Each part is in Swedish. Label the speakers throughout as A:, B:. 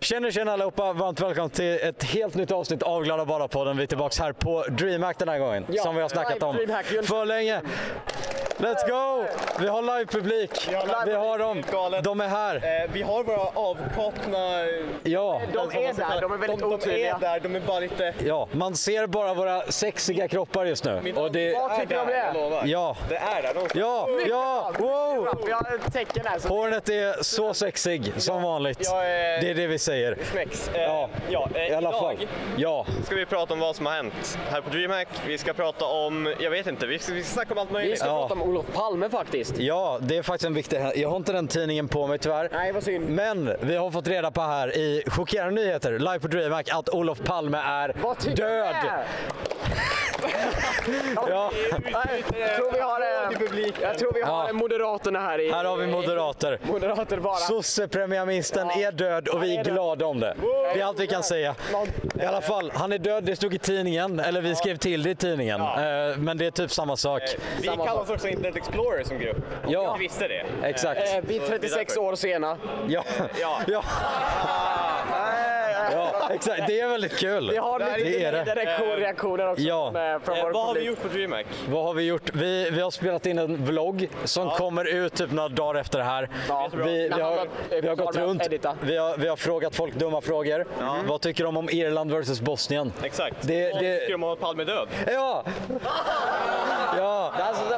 A: Tjena tjena allihopa, varmt välkomna till ett helt nytt avsnitt av Glada Bara-podden. Vi är tillbaka här på DreamHack den här gången,
B: Ja,
A: som vi har snackat
B: live
A: om
B: DreamHack, just-
A: för länge. Let's go! Vi har live-publik,
C: har live-
A: vi har dem,
C: galet.
A: de är här.
C: Eh, vi har våra eh, avkortna...
A: Ja,
B: De är där, de är väldigt
C: de, de
B: otydliga.
C: är där, de är bara lite...
A: ja, man ser bara våra sexiga kroppar just nu. Och det,
B: Vad tycker du om det?
C: Jag lovar.
A: ja,
C: Det är där någonstans.
A: ja, ja, wow!
B: Vi har ett tecken här. Så
A: Hornet är så sexig, som vanligt.
C: jag är-
A: Det är det vi säger.
C: Snäcks. Eh,
A: Ja.
C: ja, eh,
A: I alla
C: idag
A: fall. Ja,
C: ska vi prata om vad som har hänt här på DreamHack. Vi ska prata om, jag vet inte, vi ska, vi ska snacka om allt möjligt.
B: vi ska
A: Ja.
B: prata om Olof Palme faktiskt.
A: ja, det är faktiskt en viktig hä- Jag har inte den tidningen på mig tyvärr.
B: Nej, vad synd.
A: Men vi har fått reda på här i chockerande nyheter, live på DreamHack, att Olof Palme är
B: Vad tycker
A: död.
B: du?
A: Ja,
B: Jag tror vi har,
C: Till
B: eh,
C: publiken.
B: jag tror vi har
A: Ja.
B: Moderaterna här. I,
A: här har vi moderater.
B: Moderater bara.
A: Sossepremiärministern
B: Ja.
A: är död och vi
B: Han
A: är
B: är död.
A: glada om det. Det är allt vi kan säga.
B: Någon-
A: I alla fall, han är död, det stod i tidningen, eller vi skrev till det i tidningen. Eh, Men det är typ samma sak.
C: Eh,
B: Eh,
C: Vi kallas också Internet Explorer som grupp. Om
A: Ja.
C: ni inte visste det.
A: Exakt.
B: Eh, vi är 36 år sena.
A: Ja.
C: Ja.
A: Ja. ja, exakt. Det är väldigt kul.
B: Ah. Vi har lite
A: det är det.
B: direkt reaktioner också
A: Ja.
B: från, eh, från
C: Eh,
B: vår
C: vad har vi
B: publik.
C: gjort på DreamHack?
A: Vad har vi gjort? Vi, vi har spelat in en vlogg som kommer ut typ några dagar efter det här.
B: Ja,
A: vi,
B: bra.
A: vi,
B: När han
A: har,
B: var-
A: vi har gått
B: klar med att
A: runt,
B: edita.
A: vi har, vi har frågat folk dumma frågor. Vad tycker de om Irland versus Bosnien?
C: Exakt.
A: Det-
C: Vad
A: det-
C: tycker du om att Palme är död?
A: Ja! ja!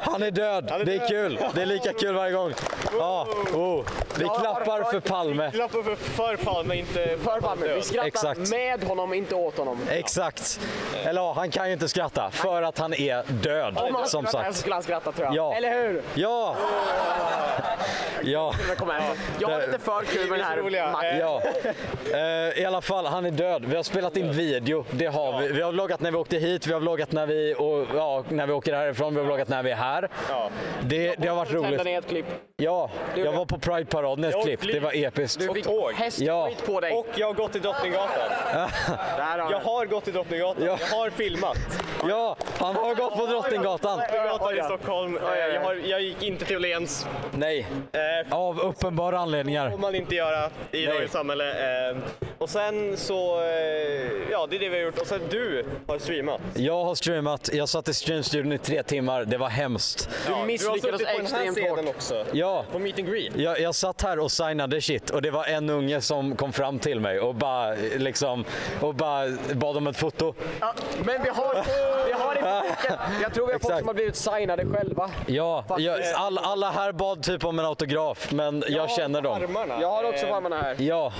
A: Han är död, det är
C: död.
A: kul. Det är lika kul varje gång. Ja. Oh. Vi klappar för Palme.
C: Klappar för, för Palme, inte
B: För Palme. Vi skrattar
A: Exakt.
B: med honom, inte åt honom.
A: Exakt. Eller ja, han kan ju inte skratta för att han är död,
B: Om han
A: som
B: skrattade
A: sagt.
B: så skulle han skratta tror jag.
A: Ja.
B: Eller hur?
A: Ja! Ja,
B: Jag, kommer hem. jag har
A: Det-
B: lite för kul med den
C: Det är roliga.
B: här matchen.
A: ja. Eh, I alla fall, han är död. Vi har spelat in video, det har vi. Vi har vloggat när vi åkte hit, vi har vloggat när vi, och, ja, när vi åker härifrån, vi har vloggat när vi är här.
C: Ja.
A: Det, det har varit
B: Tända
A: roligt.
B: ner ett klipp.
A: Ja, jag var på Pride-paraden i ett
C: Jag
A: klipp, det var episkt.
B: Du fick
C: tåg.
B: hästskit
A: Ja.
B: på dig.
C: Och jag har gått till Drottninggatan.
B: Där har
C: Jag
B: jag
C: har gått till Drottninggatan.
A: Ja.
C: Jag har filmat.
A: Ja, han har gått på Drottninggatan.
C: Drottninggatan
B: Oj,
C: i
B: ja.
C: Stockholm. Eh,
B: oj, oj.
C: Jag, har, jag gick inte till Åhléns.
A: Nej,
C: Eh,
A: av uppenbara anledningar.
C: får man inte göra i
A: Nej.
C: dagens samhälle. Eh, och sen så, eh, ja det är det vi har gjort. Och sen du har streamat.
A: Jag har streamat, jag satt i streamstudion i tre timmar, det var hemskt.
C: Ja,
B: misslyckades
C: du har suttit på den här
B: extremt
C: scenen
B: hårt.
C: också.
A: Ja,
C: På meet and greet.
A: Jag, jag satt här och signade shit och det var en unge som kom fram till mig och bara, liksom, och bara bad om ett foto.
B: Ja, men vi har, vi har i publiken. Jag tror vi har
A: Exakt.
B: folk som har blivit signade själva.
A: Ja, jag,
B: Faktiskt.
A: all, alla här bad typ om en autograf, men jag känner dem.
C: Armarna.
B: Jag har också
C: Eh,
B: farmarna här.
A: Ja,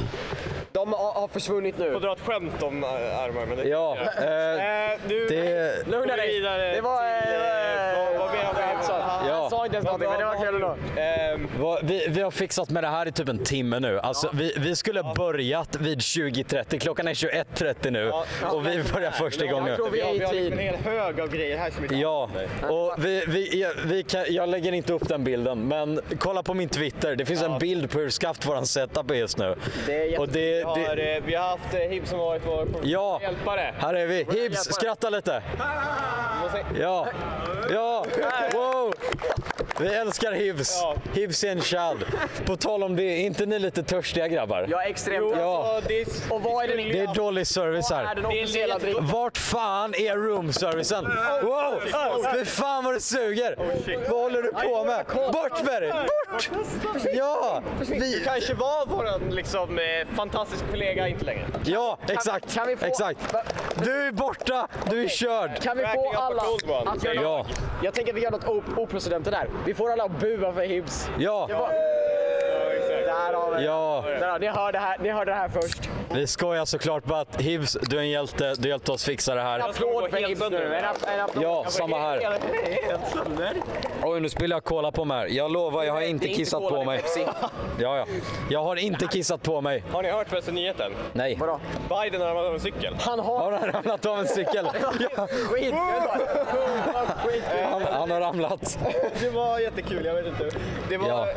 B: De har, har försvunnit nu.
C: får dra ett skämt om eh, armar. Men det
A: ja. Eh,
C: Eh, nu
A: det,
B: Lugna dig.
C: vidare
B: Det var...
C: till, eh, vad- vad mer har vi-
B: alltså, Han sa inte ens någonting, men det var kul ändå.
C: Ehm,
A: vad- vi, vi har fixat med det här i typ en timme nu. Alltså, vi, vi skulle börjat vid 20.30, klockan är 21.30 nu och vi börjar första gången nu.
B: tror vi
C: ja,
B: är
C: vi
B: i
C: har liksom en
B: tid.
C: hel hög av grejer här som inte
A: Ja, och vi, vi, jag, vi kan, jag lägger inte upp den bilden, men kolla på min Twitter. Det finns en bild på hur skaft våran setup är just nu.
B: Det är jätte-
A: och det,
C: Vi har,
A: det,
C: eh, vi har haft eh, Hib som varit vår
A: Ja.
C: hjälpare.
A: här är vi. Hibs,
B: hjälpa dig?
A: skratta lite.
C: Vad säger-
A: Ja, ja, wow. Vi älskar Hibs.
C: Ja.
A: Hibs är en tjad. På tal om det, är inte ni lite törstiga grabbar?
B: Jag är extremt...
A: Ja.
C: Alltså, det
B: Och vad är det ni-
A: Det är dålig service
B: Vad är
A: här.
B: den officiella
C: Det är lite-
B: drickan?
A: Vart fan är roomservicen?
B: Oh,
A: Wow! Fy fan vad det suger!
C: shit.
A: Vad håller du på med? Bort med dig! Bort! Ja!
C: Du kanske var vår liksom, eh, fantastiska kollega inte längre.
A: Ja, exakt.
B: kan vi få-
A: exakt.
B: Va-
A: Du är borta, du är körd.
B: Kan vi
C: Backing
B: få
C: up a
B: alla
C: cold one.
B: att göra
A: Ja,
B: Jag tänker att vi gör något op- oprocedenter där. Vi får alla att bua för Hibs.
A: ja,
B: Det var... Där har vi
A: ja.
B: Där, har- ni, hör det här, ni hörde det här först.
A: Vi skojar såklart bara att Hibs, du är en hjälte. Du hjälpte oss fixa det här.
B: Applåd för Hibs nu. En, app- en applåd.
A: Ja, samma här.
C: Helt sönder.
A: Oj, nu spiller jag cola på mig här. Jag lovar, jag har inte kissat på mig. Ja, ja. Jag har inte kissat på mig.
C: Har ni hört förresten nyheten?
A: Nej.
B: Vadå?
C: Biden har ramlat av en cykel.
B: Han har
A: Har han ramlat av en cykel? Ja,
B: skit.
A: han, han har ramlat.
C: Det var jättekul, jag vet inte. Det var...
A: Ja.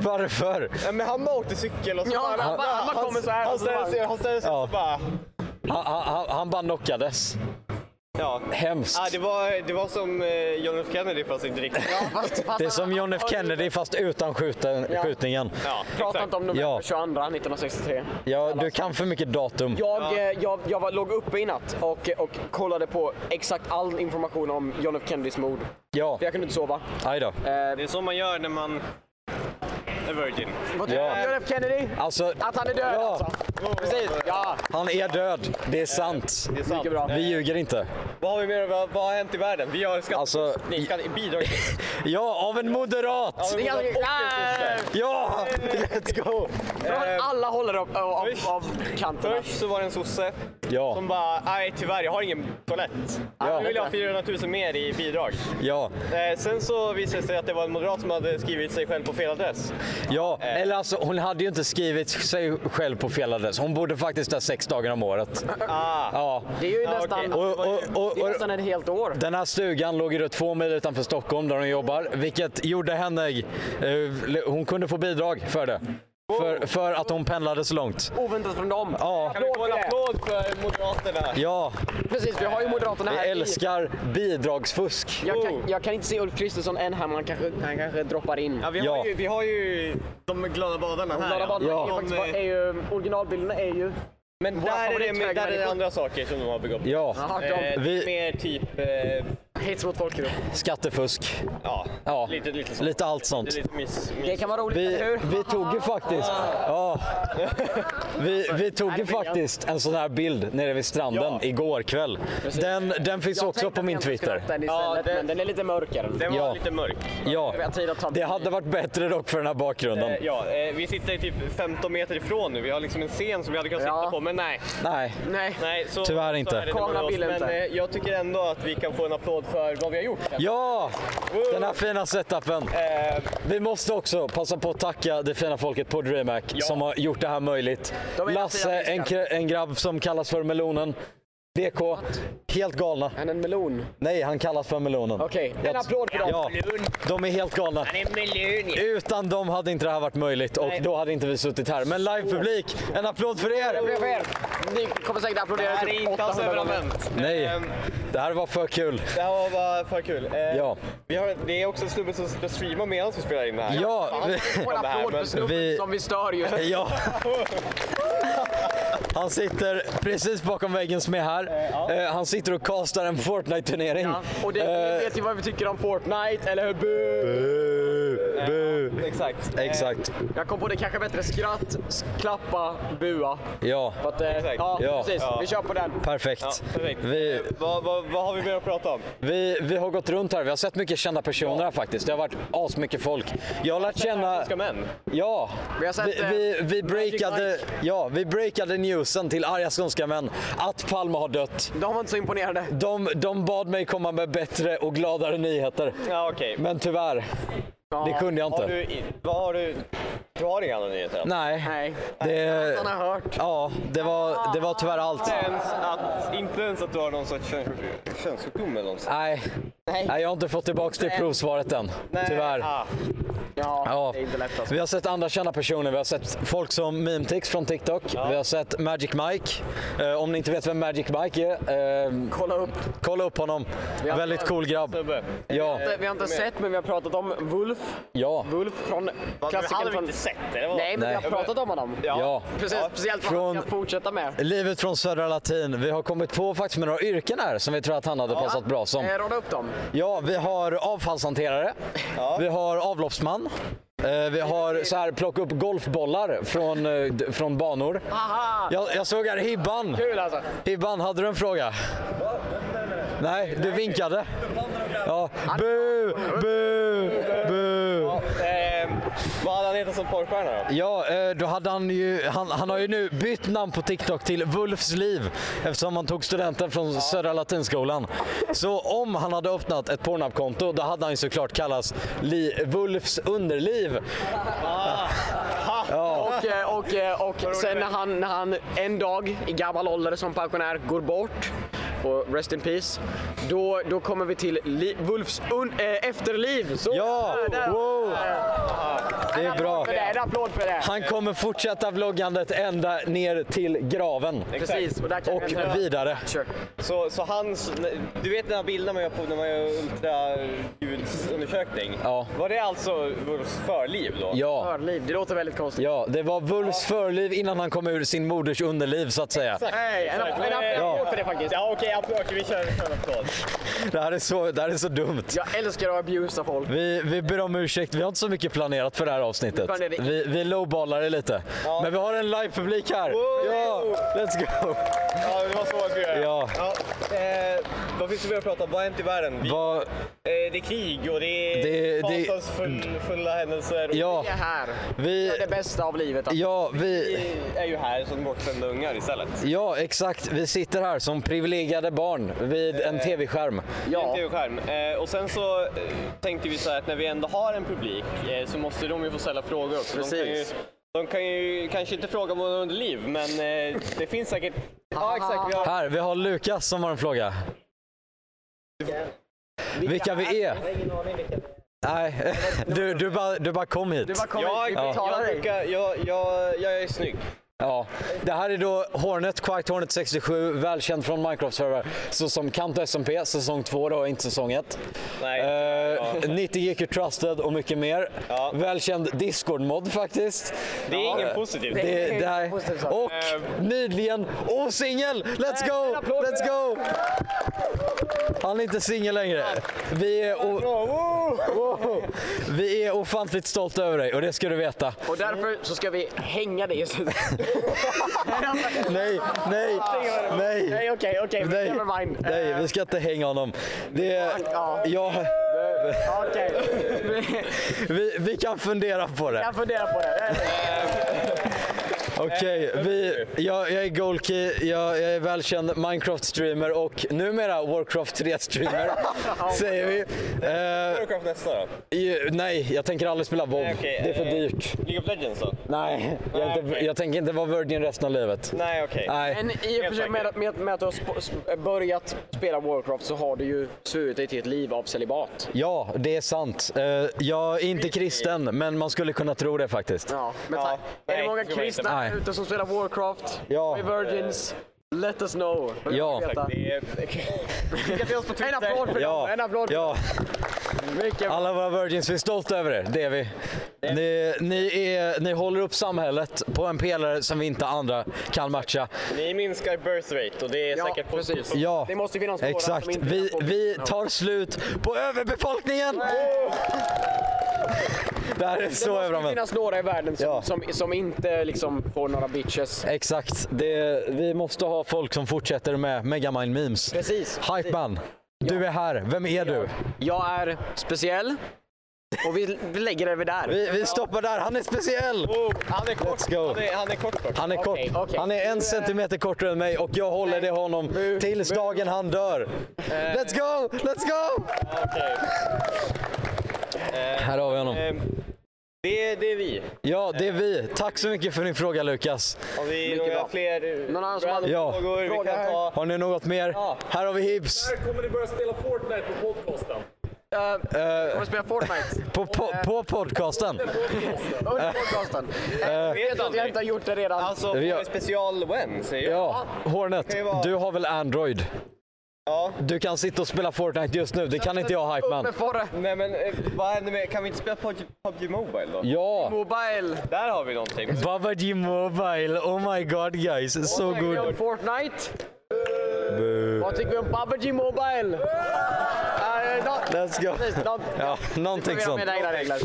A: Varför?
C: Nej, Men han bara åkte cykel och så
B: Ja,
C: bara...
B: han bara- han bara kommer så här
C: Han
B: och så bara-
C: ställer sig, han ställer sig
A: Ja.
C: och så bara...
A: Han, han, han bara knockades.
C: Ja.
A: Hemskt.
C: Ja, det, var, det var som eh, John F Kennedy fast inte riktigt.
B: Fast, fast,
A: Det är som John F Kennedy fast utan skjuten,
B: Ja.
A: skjutningen.
C: Ja,
B: Prata inte om november
A: Ja.
B: 22 1963.
A: Ja, du kan för mycket datum.
B: Jag, eh, jag, jag var, låg uppe i natt och, och kollade på exakt all information om John F Kennedys mord.
A: Ja,
B: För jag kunde inte sova. Eh,
A: aj då.
C: Det är så man gör när man är virgin.
B: Vad tycker
A: Ja.
B: du om John F Kennedy?
A: Alltså,
B: Att han är död
A: Ja.
B: alltså? Precis, ja.
A: han är död. Det är sant.
C: Det är sant.
B: Mycket bra.
A: Vi ljuger inte.
C: Vad har vi mer? Vad, vad har hänt i världen? Vi har skatt...
A: Alltså,
C: Nej, skatt... bidrag.
A: ja, av en moderat!
B: Det är ganska-
C: Och en sosse.
A: Ja, let's go!
B: Från
C: Eh,
B: alla håller av, av,
C: först-
B: av kanterna.
C: Först så var det en sosse
A: Ja,
C: som bara, nej tyvärr jag har ingen toalett.
A: Ja.
C: Nu vill jag ha 400 000 mer i bidrag.
A: ja,
C: Eh, sen så visade det sig att det var en moderat som hade skrivit sig själv på fel adress.
A: ja. Eller alltså, hon hade ju inte skrivit sig själv på fel adress. Hon borde faktiskt ha sex dagar om året.
C: Ah.
A: Ja.
B: Det är ju
C: Ja,
B: nästan,
C: okej.
A: Och, och, och,
B: det är
A: och,
B: nästan ett helt år.
A: den här stugan låg ju då två mil utanför Stockholm där hon jobbar, vilket gjorde henne... eh, Hon kunde få bidrag för det. För, för att hon pendlade så långt.
B: Oväntat från dem.
A: Ja.
C: Kan vi få en
B: Applåd för det.
C: applåd för Moderaterna?
A: Ja,
B: Precis, vi har ju Moderaterna
A: vi
B: här. i-
A: älskar Oh. bidragsfusk.
B: Jag kan, jag kan inte se Ulf Kristersson än här, men han kanske, han kanske droppar in.
C: Ja, vi,
A: Ja.
C: Har ju, vi har ju de glada badarna här. eh,
B: Glada barnen
A: Ja.
B: är ju faktiskt bara- är ju, originalbilderna är ju...
C: Men
B: Våra
C: där är, det, med, där är det
B: favorithögermänniskor.
C: andra saker som de har begått.
A: Ja,
B: Jaha, de,
C: Eh,
A: Vi-
C: Mer typ, eh,
B: hets mot folkgrupp.
A: skattefusk.
C: ja,
A: Ja,
C: lite, lite sånt.
A: lite allt sånt.
C: Lite miss, miss.
B: Det kan vara roligt, eller
A: Vi,
B: hur?
A: vi tog ju faktiskt, ja, vi, vi tog ju
B: det är
A: faktiskt en sån här bild nere vid stranden
C: Ja.
A: igår kväll. Den, den finns
B: Jag
A: också
B: tänkte
A: på
B: att
A: min
B: jag skulle
A: Twitter.
B: ta Den istället,
C: Ja, det-
B: men den är lite mörkare.
C: Den var
A: Ja.
C: lite mörk.
A: Ja,
B: Vi har tid att ta
A: det hade varit bättre dock för den här bakgrunden.
C: Eh, ja, eh, vi sitter typ 15 meter ifrån nu. Vi har liksom en scen som vi hade kunnat
B: Ja.
C: sitta på, men nej.
A: Nej,
B: Nej.
C: nej så,
A: Tyvärr inte.
C: Så är det när man
B: Kameran
C: är oss.
B: vill inte.
C: Men eh, jag tycker ändå att vi kan få en applåd för vad vi har gjort.
A: ja, den här fina setupen.
C: Eh,
A: Vi måste också passa på att tacka det fina folket på DreamHack som har gjort det här möjligt.
B: De är
A: Lasse,
B: jättejävla
A: en,
B: friska.
A: kre- en grabb som kallas för Melonen. DK, helt galna.
B: Han är en melon.
A: Nej, han kallas för Melonen.
B: Okej,
A: Jag-
B: en applåd för dem.
A: Ja, de är helt galna.
C: han är miljon.
A: Utan dem hade inte det här varit möjligt och
C: Nej.
A: då hade inte vi suttit här. Men livepublik, en applåd för
B: Det blir
A: er!
B: för er. Ni kommer säkert applådera
C: Det här är
B: typ
C: inte alls
B: 800 gånger.
C: överanvänt.
A: Nej,
C: Ehm,
A: det här var för kul.
C: Det här var bara för kul. Eh,
A: Ja.
C: vi har, det är också en snubbe som sitter och streamar medan vi spelar in det här.
A: Ja, vi,
B: Och en
C: Det här,
B: applåd för
C: men-
B: snubben
A: vi-
B: som vi stör ju.
A: ja. Han sitter precis bakom väggen som är här. Eh, Han sitter och castar en Fortnite-turnering.
B: Ja, och det, ni
A: Eh,
B: vet ju vad vi tycker om Fortnite, eller hur? Bu!
A: bu, bu.
C: Exakt. Ehm,
A: eh, Exakt,
B: Jag kom på det kanske bättre skratt, s- klappa, bua.
A: ja.
B: För att, eh,
C: Exakt.
B: ja,
A: Ja.
B: precis.
C: Ja.
B: Vi kör på den.
C: Ja,
A: Perfekt.
C: perfekt.
A: Vi,
C: Eh, vad, vad, vad har vi mer att prata om?
A: vi, vi har gått runt här, vi har sett mycket kända personer här faktiskt. Det har varit asmycket folk. Jag har lärt känna...
C: Ska män?
A: Ja,
B: Vi har sett,
A: vi,
B: eh,
A: vi, vi, breakade,
B: Mike.
A: ja, vi breakade newsen till arga skånska män att Palme har dött.
B: De var inte så imponerade.
A: De, de bad mig komma med bättre och gladare nyheter.
C: Ja, okej.
A: Men tyvärr, det kunde jag
C: Har
A: inte.
C: du, i- vad har du? Du har inga andra nyheter? än?
A: Nej,
B: Nej.
A: det,
B: Han har hört.
A: ja, det, var, det var tyvärr allt.
C: Inte ens att, inte ens att du har någon sorts kön- könssjukdom eller något sånt?
A: Nej,
B: Nej.
A: nej, jag har inte fått tillbaka det provsvaret än. Tyvärr.
C: Ah,
B: Ja,
A: Ja.
B: det är inte lätt alltså.
A: Vi har sett andra kända personer. Vi har sett folk som Memetics från TikTok. Vi har sett Magic Mike. Eh, om ni inte vet vem Magic Mike är, eh,
B: Kolla upp.
A: kolla upp honom.
B: har-
A: Väldigt cool grabb.
C: snubbe.
A: Ja,
B: Vi har inte sett, men vi har pratat om Wulf.
A: ja,
B: Wulf från klassikern
C: hade vi
B: från...
C: inte sett eller? vad?
B: Nej, men vi har
A: Nej.
B: pratat om honom.
A: ja.
B: Precis,
C: Ja.
B: speciellt vad
A: Från-
B: han ska fortsätta med.
A: Livet från Södra Latin. Vi har kommit på faktiskt med några yrken här som vi tror att han hade passat bra som.
B: Eh, Rada upp dem.
A: Ja, vi har avfallshanterare. Vi har avloppsman. Eh, Vi har så här, plocka upp golfbollar från, eh, d- från banor.
B: Haha!
A: Jag, jag såg här Hibban.
B: Kul alltså.
A: Hibban, hade du en fråga? Nej, du vinkade. Ja. Bu, bu, bu.
C: Ehm, vad hade han hetat som porrstjärna då?
A: Ja, eh, då hade han ju, han, han har ju nu bytt namn på TikTok till Wulfs liv eftersom han tog studenten från Södra Latinskolan. Så om han hade öppnat ett Pornhub-konto då hade han ju såklart kallats li, Wulfs underliv.
B: Och, eh, och, eh, och sen när han, när han en dag i gammal ålder som pensionär går bort, och rest in peace, då, då kommer vi till li, Wulfs un, eh, efterliv. Så,
A: Ja,
B: där, där.
A: wow. Det är bra.
B: För det, en applåd för det.
A: Han kommer fortsätta vloggandet ända ner till graven.
B: Precis, och där kan
A: Och
B: vi ändra-
A: vidare.
B: Kör.
C: Så, så hans, du vet den här bilden man gör på när man gör ultraljudsundersökning?
A: Ja.
C: Var det alltså Wolfs förliv då?
A: Ja.
B: Förliv, det låter väldigt konstigt.
A: ja, det var Wulfs förliv innan han kom ur sin moders underliv så att säga.
B: Nej, en app- en app- en
A: Ja.
B: applåd för det faktiskt.
C: Ja okej, okay, vi kör en applåd.
A: Det här är så, det här är så dumt.
B: Jag älskar att abusa folk.
A: Vi, vi ber om ursäkt, vi har inte så mycket planerat för det här avsnittet.
B: Planerar inte.
A: Vi, vi lowballar det lite. Men vi har en live-publik här.
C: Wow!
A: Ja, let's go!
C: Ja, det var så jag skulle göra.
A: Ja.
C: Eh, vad finns det mer att prata om? Vad har hänt i världen? Vi,
A: Vad-
C: eh, det är krig och det är
A: Det- det-
C: fasansfulla händelser.
A: ja,
B: Vi är här. Vi
A: vi,
B: gör det bästa av livet. alltså.
A: ja, vi,
C: Vi är ju här som bortskämda ungar istället.
A: ja, exakt. Vi sitter här som privilegierade barn vid en tv-skärm.
B: Ja.
C: Det är en TV-skärm. Eh, och sen så eh, tänkte vi så här att när vi ändå har en publik eh, så måste de ju få ställa frågor också. De kan ju,
B: Precis.
C: de kan ju kanske inte fråga om vår underliv, men eh, det finns säkert... Ja, exakt. Vi har...
A: Här, vi har Lukas som har en fråga. Vilka vi är? Nej, du, du, bara, du bara kom hit.
B: Du bara kom hit,
C: Jag,
B: vi betalar
C: jag,
B: dig.
C: brukar, jag, jag, jag är snygg.
A: Ja, det här är då Hornet, Quiet Hornet 67, välkänd från Minecraft-server, såsom Kanto SMP, säsong 2 då, inte säsong 1.
C: Nej.
A: Eh, 90 GQ Trusted och mycket mer.
C: Ja.
A: Välkänd Discord-mod faktiskt.
C: Det är ingen
A: Eh,
C: positiv. Ehm.
A: Det,
B: Det är
A: det här.
B: positivt sagt.
A: Och nyligen, och singel! Let's go! Let's go! Han är inte singel längre. Vi är, o- vi är ofantligt stolta över dig och det ska du veta.
B: Och därför så ska vi hänga dig istället.
A: Nej, nej, nej.
B: Nej okej, okej,
A: Nej,
B: never mind. Eh.
A: nej, vi ska inte hänga honom. Det,
B: Ja.
A: ja,
B: Eh, Okej,
A: vi, vi kan fundera på det.
B: jag funderar på det.
A: Okej, vi, jag, jag är Golki, jag, jag är välkänd Minecraft-streamer och numera Warcraft 3-streamer, säger vi. Eh,
C: Warcraft nästa då?
A: ju- nej, jag tänker aldrig spela WoW.
C: Okej,
A: Det är för
C: eh,
A: dyrt.
C: League of Legends då?
A: Nej, jag, är inte,
C: okej.
A: jag tänker inte vara virgin resten av livet.
C: Nej, okej.
A: Nej,
B: Men i och för sig med, med, med att du har sp- sp- börjat spela Warcraft så har du ju svurit dig till ett liv av celibat.
A: ja, det är sant. Eh, jag är inte kristen, men man skulle kunna tro det faktiskt.
B: Ja, men
C: Ja,
B: ta- är
C: nej,
B: det många
C: det tror jag
B: kristna
A: inte.
B: där
A: Nej.
B: ute som spelar Warcraft?
A: Ja.
B: Med Virgins? Let us know. Vill
A: Ja.
B: vi veta.
C: Det är... Skicka till oss på
B: En
C: Twitter.
B: applåd för
A: Ja,
B: dem! En applåd för
A: ja.
B: dem! Mycket bra.
A: Alla våra virgins, vi är stolta över er. Det är vi. Ni, ni, är, ni håller upp samhället på en pelare som vi inte andra kan matcha.
C: Ni minskar birth rate och det är
B: Ja,
C: säkert positivt.
A: Ja,
B: Det måste ju finnas några
A: exakt.
B: som inte
A: vi,
B: kan få-
A: vi tar slut på överbefolkningen! Det här är så
B: Det måste ju
A: överraskande.
B: finnas några i världen som,
A: Ja.
B: som, som inte liksom får några bitches.
A: Exakt. Det, vi måste ha folk som fortsätter med Megamind memes.
B: Precis.
A: Hypeman, du är här. Vem är du?
B: Jag är speciell. Och vi, vi lägger det vid där.
A: Vi, vi stoppar där. Han är speciell!
C: Oh, han är kort.
A: Let's go.
C: Han är, han är kort kort.
A: Han är kort.
B: Okej, okej.
A: Han är en centimeter kortare än mig och jag håller det honom tills dagen han dör. Let's go! Let's go!
C: Okej.
A: Här har vi honom.
C: Ehm, Det, det är vi.
A: Ja, det är vi. Tack så mycket för din fråga Lukas.
C: Har vi
B: Mycket
C: några
B: bra.
C: fler
B: Någon annan som har-
C: random
A: Ja.
C: frågor? Vi
B: Fråga
C: kan
B: här.
C: ta...
A: Har ni något mer? Här har vi Hibs.
D: Kommer ni börja spela Fortnite på podcasten?
B: Eh, Kommer vi spela Fortnite?
A: På, på, på podcasten.
B: Under podcasten.
A: Eh.
B: Jag vet att jag inte har gjort det redan.
C: Alltså,
A: Vi
C: vi
A: har-
C: special when säger jag.
A: Ja, Hornet. Du har väl Android?
C: Ja.
A: Du kan sitta och spela Fortnite just nu. Det kan inte jag Hypeman.
B: Upp med Forre.
C: Nej men eh, vad händer med, kan vi inte spela PUBG, PUBG Mobile då?
A: Ja.
B: Mobile.
C: Där har vi någonting.
A: Babaji Mobile. Oh my god guys. So
B: Vad tycker vi om
A: good.
B: Fortnite? Vad tycker vi om Babaji Mobile? Eh, nå-
A: Let's go.
B: precis, nå-
A: Ja, någonting
B: Vi har
A: sånt.
B: med egna regler.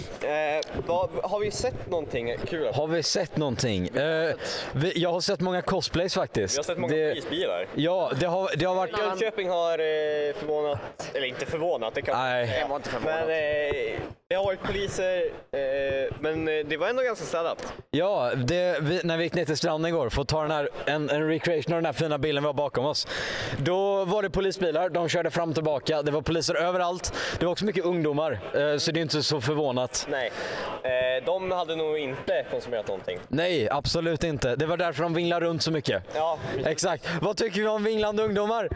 C: Eh, vad, har vi sett någonting kul?
A: Har vi sett någonting? Eh, vi, jag har sett många cosplays faktiskt.
C: Jag har sett många
A: det,
C: prisbilar.
A: Ja, det har, det har varit...
C: Jönköping har eh, förvånat, eller inte förvånat, det kan
A: Nej.
C: säga.
B: Jag var inte förvånad.
C: Men eh, det har varit poliser, eh, men eh, det var ändå ganska städat.
A: Ja, det, vi, när vi gick ner till stranden igår för att ta den här, en, en recreation av den här fina bilen vi har bakom oss. Då var det polisbilar, de körde fram och tillbaka. Det var poliser överallt. Det var också mycket ungdomar, eh, så det är inte så förvånat.
C: Nej, eh, de hade nog inte konsumerat någonting.
A: Nej, absolut inte. Det var därför de vinglar runt så mycket.
C: Ja,
A: Exakt. Vad tycker vi om vinglande ungdomar?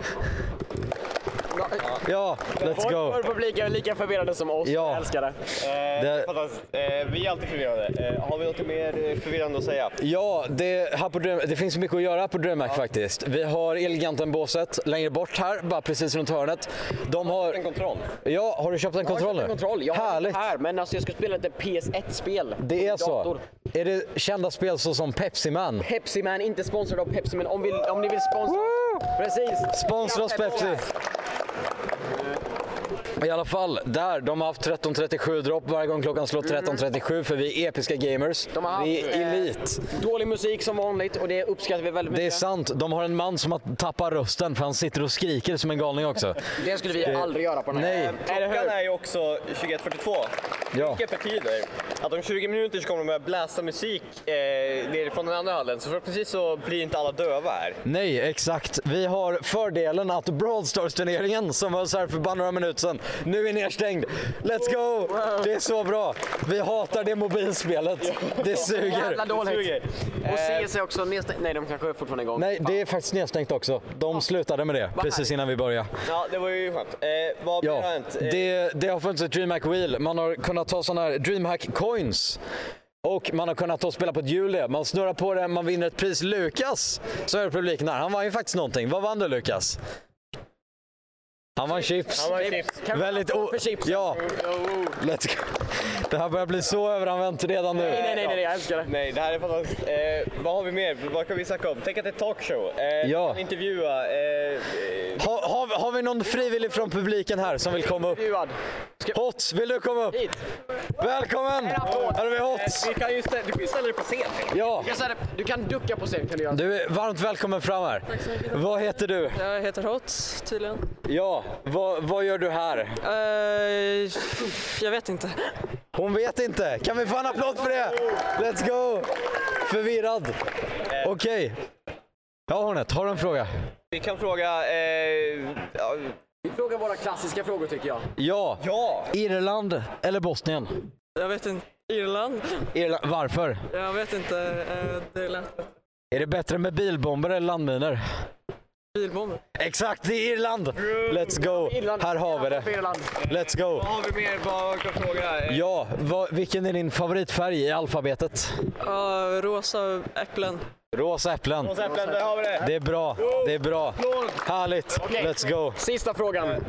A: Ja, let's go.
B: Vår publik är lika förvirrade som oss.
A: Ja.
B: Jag älskar det.
C: Eh,
A: Det-
C: fantastiskt. Eh, vi är alltid förvirrade. Eh, har vi något mer eh, förvirrande att säga?
A: Ja, det, här på Dröm, det finns mycket att göra här på Drömmack faktiskt. Vi har Elgiganten-båset längre bort här, bara precis runt hörnet. De
C: En
A: har...
C: kontroll.
A: Ja, har du köpt en kontroll nu?
B: Jag har inte kontroll. Jag har
A: Härligt!
B: inte här, men alltså jag ska spela lite PS1-spel.
A: Det är så. Är det kända spel såsom Pepsi Man?
B: Pepsi Man, inte sponsrad av Pepsi men om, vill, om ni vill sponsra Precis!
A: Sponsra oss Pepsi! I alla fall, där. De har haft 13.37 dropp varje gång klockan slår 13.37 för vi är episka gamers.
B: Mm. De har haft,
A: vi är
B: eh,
A: elit.
B: Dålig musik som vanligt och det uppskattar vi väldigt mycket.
A: Det är sant. De har en man som har tappat rösten för han sitter och skriker som en galning också.
B: Det skulle vi aldrig göra på den här.
A: Nej.
B: Är det
C: Klockan
B: hur?
C: är ju också 21.42.
A: Ja.
C: Vilket betyder att om 20 minuter så kommer de börja blästa musik eh, ner från den andra hallen. Så förhoppningsvis så blir inte alla döva här.
A: Nej, exakt. Vi har fördelen att Brawl Stars-turneringen som hölls här för bara några minuter sedan, nu är nedstängd. Let's go! Det är så bra. Vi hatar det mobilspelet. Det
B: Jävla
A: suger.
B: dåligt.
C: Suger.
B: Och
C: Eh,
B: CC också nedstängt. Nej, de kanske är fortfarande är igång.
A: Nej, det är faktiskt nedstängt också. De slutade med det precis innan vi började.
C: Ja, det var ju skönt. Eh, vad
A: Ja,
C: har hänt? Eh,
A: det, det har funnits ett DreamHack Wheel. Man har kunnat ta sådana här DreamHack Coins. Och man har kunnat ta och spela på ett hjul. Man snurrar på det, man vinner ett pris. Lukas, så är det publiken här. Han vann ju faktiskt någonting. Vad vann du Lukas? Han vann chips.
C: Han har chips.
B: Kan vi
A: Väldigt
B: få
A: o...
B: för chips?
A: Ja, let's go. Det här börjar bli så överanvänt redan
B: Nej,
A: nu.
B: nej, nej, nej, jag älskar det.
C: Nej, det här är fantastiskt. Eh, vad har vi mer? Vad kan vi snacka om? Tänk att det är ett talkshow. Eh,
A: Ja.
C: vi kan intervjua. Eh, eh,
A: Ha, har, har vi någon frivillig från publiken här som vill komma upp?
B: Intervjuad.
A: Hots, vill du komma upp?
B: Hit.
A: Välkommen! Här har vi Hots.
C: vi kan ju ställa, du kan ju ställa dig på scen.
A: Ja,
B: Jag säger det, Du kan ducka på scen kan du göra.
A: du är varmt välkommen fram här. Vad heter du?
E: Jag heter Hot, tydligen.
A: Ja, vad, vad gör du här?
E: Eh, jag vet inte.
A: Hon vet inte. Kan vi få en applåd för det? Let's go! Förvirrad. Okej. Ja, Hornet, har du en fråga?
C: Vi kan fråga... Eh, ja,
B: Vi frågar våra klassiska frågor tycker jag.
A: Ja.
C: ja.
A: Irland eller Bosnien?
E: Jag vet inte. Irland?
A: Irland. Varför?
E: Jag vet inte. Eh, det lät bättre.
A: Är det bättre med bilbomber eller landminor?
E: Bilbomber.
A: Exakt, det är Irland! Let's go!
B: Irland.
A: Här har vi det.
B: Irland.
A: Let's go!
C: Vad har vi mer? Vad kan vi fråga? Eh,
A: Ja, vad, vilken är din favoritfärg i alfabetet?
E: Ja, rosa äpplen.
A: Rosa äpplen.
C: Och sen, där har vi det.
A: Det är bra, det är bra. Härligt,
B: Okej.
A: let's go.
B: Sista frågan.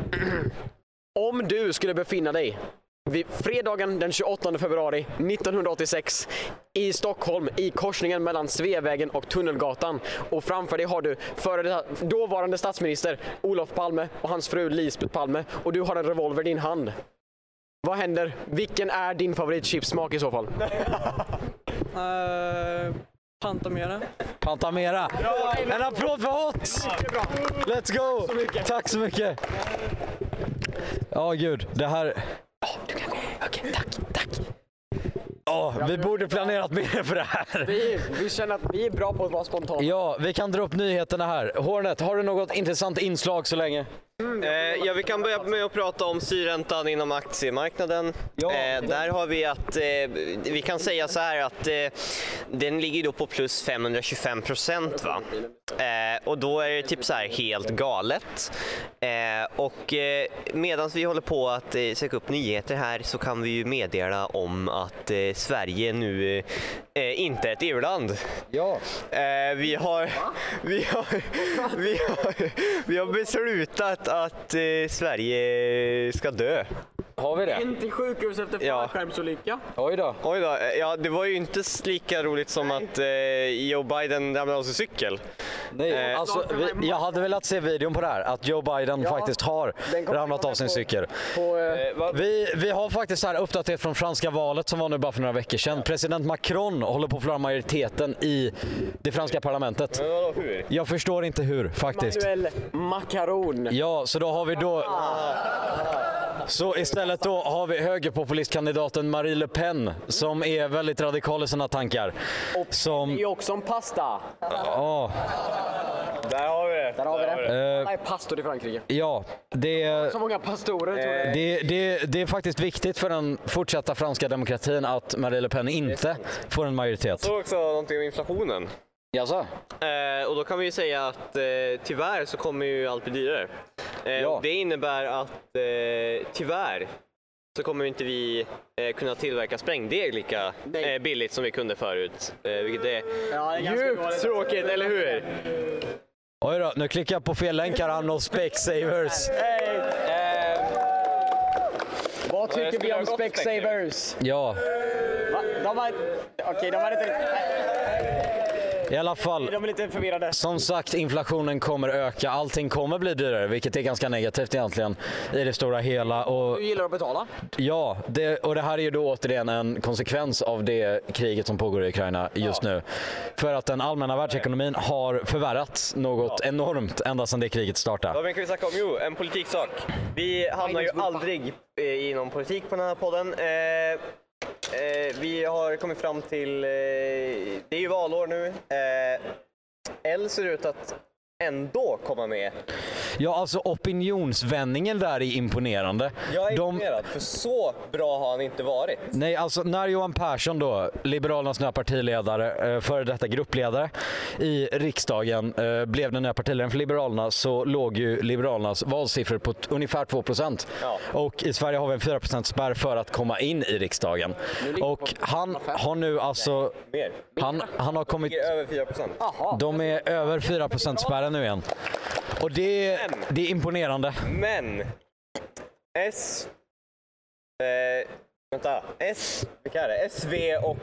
B: Om du skulle befinna dig vid fredagen den 28 februari 1986 i Stockholm i korsningen mellan Sveavägen och Tunnelgatan och framför dig har du före detta- dåvarande statsminister Olof Palme och hans fru Lisbeth Palme och du har en revolver i din hand. Vad händer? Vilken är din favoritchipssmak i så fall?
E: Uh, Pantamera.
A: Pantamera. En applåd för Hot! Let's go! Tack så mycket. Ja, gud. Det här... Ja, vi borde planerat mer för det här.
B: Vi, vi känner att vi är bra på att vara spontana.
A: Ja, vi kan dra upp nyheterna här. Hornet, har du något intressant inslag så länge?
C: Eh, ja, vi kan börja med att prata om styrräntan inom aktiemarknaden.
A: Ja.
C: eh, där har vi att eh, vi kan säga så här att eh, den ligger då på plus 525 procent. Va? Eh, och då är det typ så här helt galet. Eh, och eh, medan vi håller på att eh, söka upp nyheter här så kan vi ju meddela om att eh, Sverige nu eh, inte är ett EU-land.
A: Ja.
C: Eh, vi, har, vi, har, vi, har, vi har beslutat att eh, Sverige ska dö.
A: Har vi det?
B: In till sjukhus efter
C: Ja.
B: fallskärmsolycka.
A: Oj då.
C: Oj då, eh, ja, det var ju inte s- lika roligt som att eh, Joe Biden ramlade av sin cykel.
A: Nej,
C: Eh,
A: alltså, vi, jag hade velat se videon på det här, att Joe Biden faktiskt har
B: Den kommer
A: ramlat
B: vara
A: av sin
B: på-
A: cykel.
B: På, eh,
A: Vi, vi har faktiskt här uppdaterat från franska valet som var nu bara för några veckor sedan. President Macron håller på att förlora majoriteten i det franska parlamentet.
C: Men vadå hur?
A: Jag förstår inte hur faktiskt.
B: Manuel Macaron.
A: Ja, så då har vi då... Så istället då har vi högerpopulistkandidaten Marie Le Pen som är väldigt radikal i sina tankar. Som...
B: Det är också en pasta.
A: ja,
C: Där har vi det.
B: Där har vi det.
A: eh,
B: Alla är pastor i Frankrike.
A: ja, det...
B: Så många pastorer tror
C: Eh,
B: jag.
A: Det, det, det är faktiskt viktigt för den fortsatta franska demokratin att Marie Le Pen inte får en majoritet.
C: Så också någonting om inflationen.
A: Jaså?
C: Eh, och då kan vi ju säga att eh, tyvärr så kommer ju allt bli dyrare. Eh,
A: Ja.
C: Det innebär att eh, tyvärr så kommer inte vi eh, kunna tillverka sprängdeg lika
B: Nej.
C: eh, billigt som vi kunde förut. Eh, vilket är
B: Ja, det är ganska
C: djupt
B: galet.
C: tråkigt, eller hur?
A: Oj då, nu klickar jag på fel länk här, Anno Specsavers.
B: Vad
C: jag
B: tycker vi
C: skulle
B: om
C: ha gått
B: Specsavers?
A: Ja,
B: Va? De var... Okej, de var lite...
A: i alla fall.
B: De är lite förvirrade.
A: Som sagt, inflationen kommer öka. Allting kommer bli dyrare, vilket är ganska negativt egentligen i det stora hela. Och
B: Du gillar att betala?
A: Ja, det, och det här är ju då återigen en konsekvens av det kriget som pågår i Ukraina just nu. För att den allmänna världsekonomin har förvärrats något enormt ända sedan det kriget startade.
C: Vad mer kan vi snacka om? Jo, en politiksak. Vi hamnar ju aldrig eh, i någon politik på den här podden. Eh, eh, vi har kommit fram till, eh, det är ju valår nu. Eh, L ser ut att ändå komma med.
A: Ja, alltså opinionsvändningen där är imponerande.
C: Jag är
A: De-
C: imponerad, för så bra har han inte varit.
A: Nej, alltså när Johan Persson då, Liberalernas nya partiledare, eh, före detta gruppledare i riksdagen, eh, blev den nya partiledaren för Liberalerna så låg ju Liberalernas valsiffror på t- ungefär 2%.
C: Ja.
A: Och i Sverige har vi en 4% spärr för att komma in i riksdagen. Och han har nu alltså,
C: Mer.
A: han, han har kommit,
C: Ligger över 4 procent.
A: de är över 4% spärren nu igen. Och det är, det är imponerande.
C: Men S... Eh, vänta. S... Vilka är det? S, V och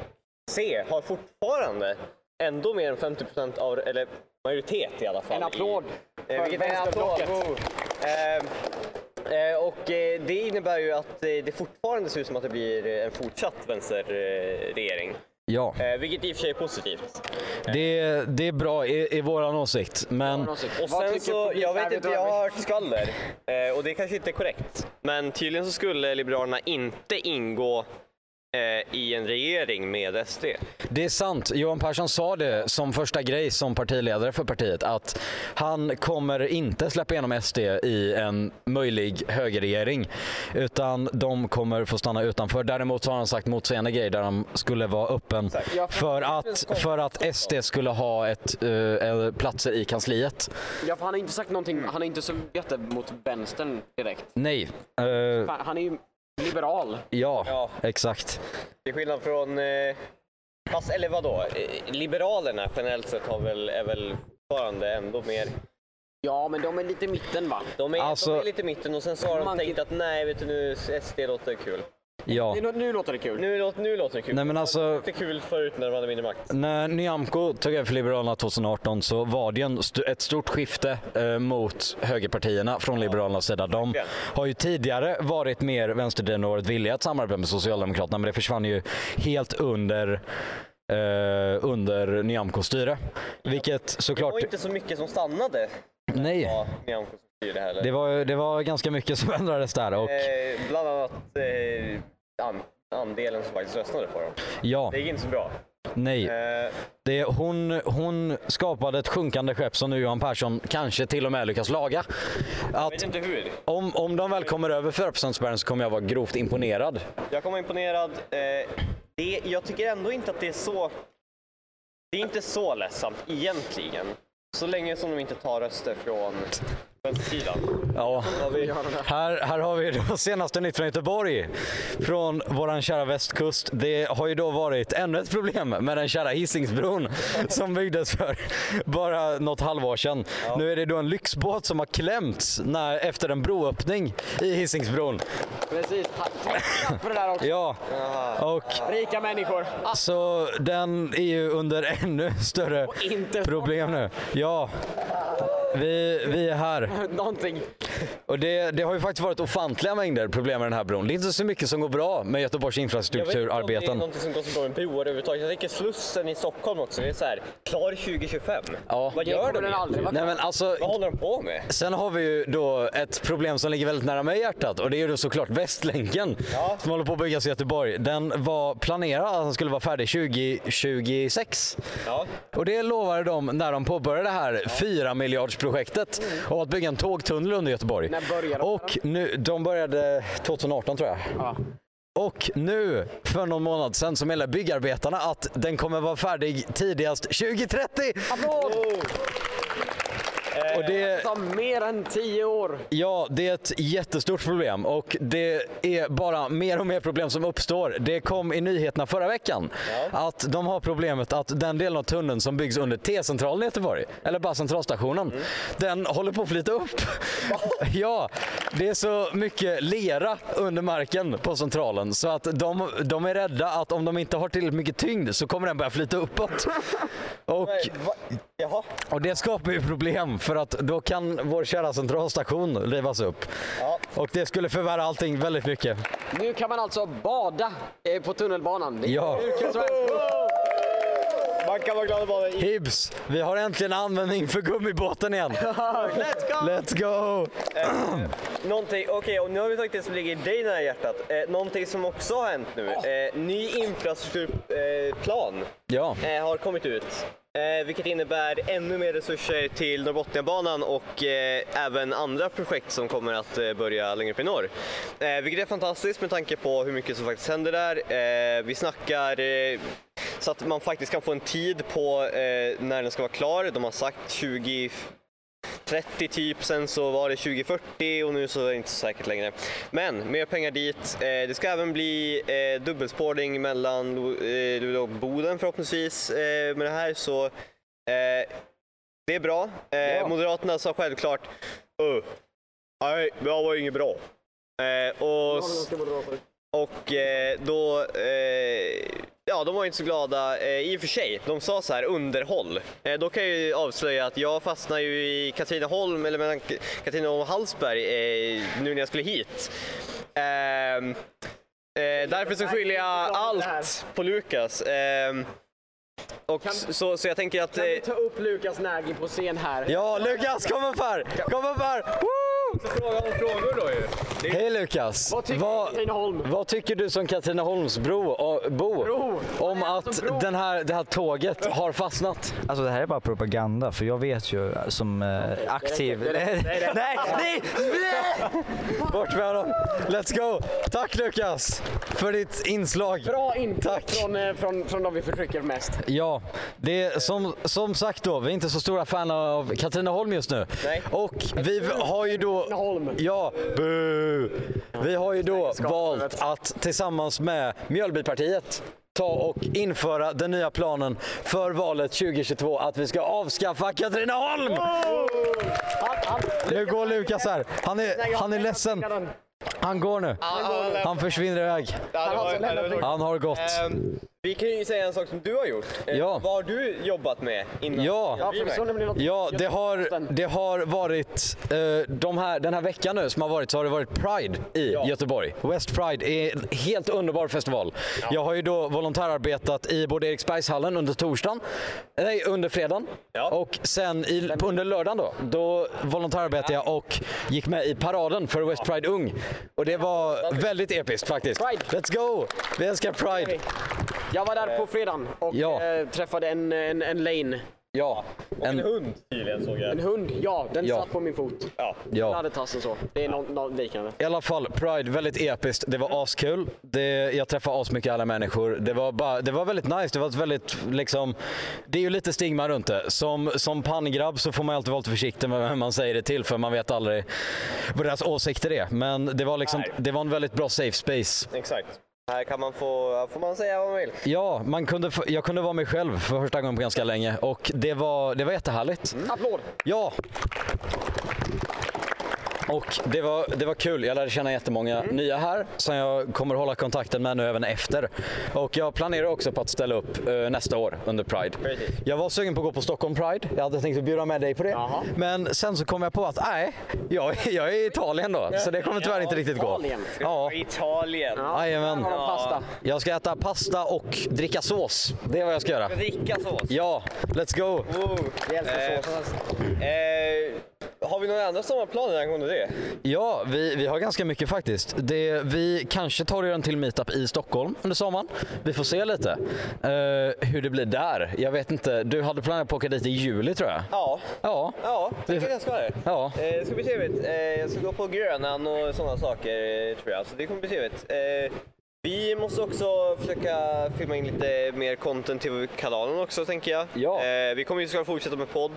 C: C har fortfarande ändå mer än 50 procent av... Eller majoritet i alla fall.
B: En applåd
C: I, eh,
B: för
C: vilket är en applåd.
B: vänsterblocket.
C: Wow. Eh, eh, och eh, det innebär ju att eh, det fortfarande ser ut som att det blir eh, en fortsatt vänsterregering. Eh, regering.
A: Ja.
C: eh, vilket i och för sig är positivt.
A: Det, det är bra i, i våran åsikt. Men
C: Och sen så, jag vet inte, jag har hört skvaller. Eh, och det kanske inte är korrekt. Men tydligen så skulle Liberalerna inte ingå eh, i en regering med SD.
A: Det är sant. Johan Persson sa det som första grej som partiledare för partiet att han kommer inte släppa igenom SD i en möjlig högerregering utan de kommer få stanna utanför. Däremot så har han sagt motsägande grejer där han skulle vara öppen för att, för att SD skulle ha ett, eh, eh, platser i kansliet.
B: Ja, för han har inte sagt någonting. Han är inte så jätte mot vänstern direkt.
A: Nej. Eh,
B: Fan, Han är ju liberal.
A: ja,
C: Ja.
A: exakt.
C: Till skillnad från... Eh, fast, eller vadå? Eh, Liberalerna generellt sett har väl, är väl fortfarande ändå mer...
B: Ja, men de är lite i mitten va?
C: De är,
A: Alltså-
C: de är lite i mitten och sen så har de
B: Man-
C: tänkt att nej, vet du nu, SD låter kul.
A: Ja.
B: Nu, nu låter det kul.
C: Nu, låter- nu låter det kul.
A: Nej, men
C: Det
A: alltså-
C: var inte kul förut när de hade mindre makt.
A: När Nyamko tog över för Liberalerna 2018 så var det ju en st- ett stort skifte eh, mot högerpartierna från Liberalernas sida. De
C: verkligen.
A: har ju tidigare varit mer vänsterdrivna och varit villiga att samarbeta med Socialdemokraterna men det försvann ju helt under eh, under Nyamkos styre. Vilket såklart...
C: Och inte så mycket som stannade.
A: Nej,
C: Ja, Nyamko som styrde heller.
A: det var, det var ganska mycket som ändrades där. Och,
C: Eh, bland annat eh, an, andelen som faktiskt röstade på dem.
A: ja,
C: Det gick inte så bra.
A: nej.
C: Eh,
A: Det, hon, hon skapade ett sjunkande skepp som nu Johan Persson kanske till och med lyckas laga. Att
C: vet inte hur.
A: Om, om de väl kommer över 4%-spärren så kommer jag vara grovt imponerad.
C: Jag kommer imponerad. Eh, det, jag tycker ändå inte att det är så... Det är inte så ledsamt egentligen. Så länge som de inte tar röster från vänstersidan.
A: Ja. Här, här har vi då senaste nytt från Göteborg. Från våran kära västkust. Det har ju då varit ännu ett problem med den kära Hisingsbron som byggdes för bara något halvår sedan. Nu är det då en lyxbåt som har klämts när, efter en broöppning i Hisingsbron.
B: Precis. Tack tack för det där också.
A: Ja, och
B: Rika människor. Ah,
A: så den är ju under ännu större
B: inte
A: problem nu. Ja, vi, vi är här.
B: någonting.
A: Och det, det har ju faktiskt varit ofantliga mängder problem med den här bron. Det är inte så mycket som går bra med Göteborgs
C: Jag vet inte om det är
A: infrastrukturarbeten.
C: någonting som går så bra med broar överhuvudtaget. Jag tänker Slussen i Stockholm också. Det är så här, klar 2025.
A: Ja.
C: Vad
B: Det
C: gör de?
B: kommer den aldrig vara.
C: egentligen?
A: Nej men alltså,
C: Vad håller de på med?
A: sen har vi ju då ett problem som ligger väldigt nära mig i hjärtat och det är ju då såklart Västlänken
C: Ja.
A: som håller på att byggas i Göteborg. Den var planerad att den skulle vara färdig 2026.
C: Ja.
A: Och det lovade de när de påbörjade det här 4 miljardsprojektet och att bygga en tågtunnel under Göteborg.
B: Mm. När började de?
A: Och nu, de började 2018 tror jag.
B: Ja.
A: Och nu, för någon månad sedan, så meddelade byggarbetarna att den kommer vara färdig tidigast 2030!
B: Applåd!
A: Och det,
B: Ta mer än tio år.
A: Ja, det är ett jättestort problem och det är bara mer och mer problem som uppstår. Det kom i nyheterna förra veckan att de har problemet att den delen av tunneln som byggs under T-centralen i Göteborg, eller bara centralstationen, den håller på att flyta upp. ja, det är så mycket lera under marken på centralen så att de, de är rädda att om de inte har tillräckligt mycket tyngd så kommer den börja flyta uppåt. och,
C: Jaha.
A: och det skapar ju problem för att då kan vår kära centralstation rivas upp.
C: Ja.
A: Och det skulle förvärra allting väldigt mycket.
B: Nu kan man alltså bada eh, på tunnelbanan. Det är
A: Ja.
B: hur kul som helst.
C: Man kan vara glad att vara i.
A: Hibs, vi har äntligen användning för gummibåten igen.
C: Let's go!
A: Let's go!
C: Någonting, okej, och nu har vi tagit det som ligger dig nära hjärtat. Eh, någonting som också har hänt nu. Eh, ny infrastrukturplan eh, plan,
A: Ja,
C: eh, har kommit ut. Eh, vilket innebär ännu mer resurser till Norrbotniabanan och eh, även andra projekt som kommer att eh, börja längre upp i norr. Eh, vilket är fantastiskt med tanke på hur mycket som faktiskt händer där. Eh, vi snackar eh, så att man faktiskt kan få en tid på eh, när den ska vara klar. De har sagt 20 30 typ, sen så var det 2040 och nu så är det inte så säkert längre. Men mer pengar dit. Eh, Det ska även bli eh, dubbelspårning mellan Lo- eh, Luleå och Boden förhoppningsvis eh, med det här så eh, det är bra. Eh, Moderaterna sa självklart "Öh, nej, det här var ju inget bra. Eh, och, s- och eh, då, eh, ja de var inte så glada eh, i och för sig. De sa så här underhåll. Eh, då kan jag ju avslöja att jag fastnade ju i Katrineholm, eller mellan K- Katrineholm och Hallsberg eh, nu när jag skulle hit. Ehm, eh, därför så skyller jag allt på Lukas. Ehm, och så, så jag tänker att...
B: Kan vi
C: eh,
B: ta upp Lukas Nägel på scen här?
A: ja Lukas kom upp här! Kom upp här! Woo!
F: Fråga om frågor då ju.
A: Hej Lukas!
B: Vad tycker du
A: Vad-
B: om Katrineholm?
A: Vad tycker du som Katrineholmsbro och- bo,
B: Bro.
A: om
B: Vad är det
A: att
B: som bro?
A: den här, det här tåget har fastnat?
G: Alltså det här är bara propaganda för jag vet ju som eh, aktiv... nej, nej, nej!
A: Bort med honom! Let's go! Tack Lukas för ditt inslag.
B: Bra input
A: Tack.
B: från, eh, från, från de vi förtrycker mest.
A: Ja, det är som, som sagt då, vi är inte så stora fan av Katrineholm just nu. Och vi har ju då...
B: Katrineholm.
A: Ja, bu. Vi har ju då valt att tillsammans med Mjölbypartiet ta och införa den nya planen för valet 2022 att vi ska avskaffa Katrineholm!
B: Han, han,
A: Nu går Lukas här. Han är, han är ledsen.
B: han,
A: Han går nu. Han försvinner iväg.
C: ja, det
B: har
C: var-
B: alltså
C: ja, det var-
B: lämnat mig.
A: Han har gått.
C: Ehm, Vi kan ju säga en sak som du har gjort. Eh,
A: Ja.
C: Vad har du jobbat med innan?
A: Ja.
B: Ja, för vi såg nämligen något-
A: Ja, det har, det har varit, eh, de här, den här veckan nu som har varit så har det varit Pride i Göteborg. West Pride är en helt underbar festival. Jag har ju då volontärarbetat i både Eriksbergshallen under torsdagen, nej under fredagen och sen i, på- under lördagen då, då volontärarbetade jag och gick med i paraden för West Pride Ung. Och det var väldigt episkt faktiskt.
B: Pride.
A: Let's go! Vi älskar Pride.
B: Jag var där på fredagen och
A: Ja.
B: eh, träffade en, en, en lane.
A: Ja, en,
C: Hund tydligen såg jag.
B: En hund, ja. Den
A: Ja.
B: satt på min fot. Den
A: ja.
B: hade tassen så. Det är något no, liknande.
A: I alla fall, Pride, väldigt episkt. Det var askul. Det, jag träffade asmycket alla människor. Det var, bara, det var väldigt nice. Det var ett väldigt, liksom, det är ju lite stigma runt det. Som, som panngrabb så får man alltid vara lite försiktig med vem man säger det till för man vet aldrig vad deras åsikter är. Men det var, liksom,
C: Nej.
A: det var en väldigt bra safe space.
C: Exakt. Här kan man få, här får man säga vad man vill.
A: Ja, man kunde, få- jag kunde vara mig själv för första gången på ganska länge och det var, det var jättehärligt.
B: Applåd!
A: Ja! Och det var, det var kul. Jag lärde känna jättemånga
B: Mm.
A: nya här som jag kommer hålla kontakten med nu även efter. Och jag planerar också på att ställa upp eh, nästa år under Pride.
C: Precis.
A: Jag var sugen på att gå på Stockholm Pride. Jag hade tänkt att bjuda med dig på det.
B: Jaha.
A: Men sen så kom jag på att nej, jag, jag är i Italien då. Så det kommer tyvärr inte riktigt gå.
B: Italien.
A: Ja,
C: Italien.
A: jajamän.
B: Har de pasta?
A: Jag ska äta pasta och dricka sås. Det är vad jag ska göra.
C: Dricka sås.
A: Ja, let's go!
C: Wow.
B: Vi älskar sås.
C: Eh, har vi några andra sommarplaner angående det?
A: Ja, vi, vi har ganska mycket faktiskt. Det, vi kanske tar och gör en till meetup i Stockholm under sommaren. Vi får se lite eh, hur det blir där. Jag vet inte, du hade planerat på att åka dit i juli tror jag?
C: Ja.
A: Ja.
C: Ja, det tycker jag ska det.
A: Ja.
C: Eh, det ska bli trevligt. Eh, jag ska gå på Grönan och sådana saker eh, tror jag, så det kommer bli trevligt. Eh, Vi måste också försöka filma in lite mer content till kanalen också tänker jag.
B: Ja.
C: Eh, vi kommer ju såklart fortsätta med podd.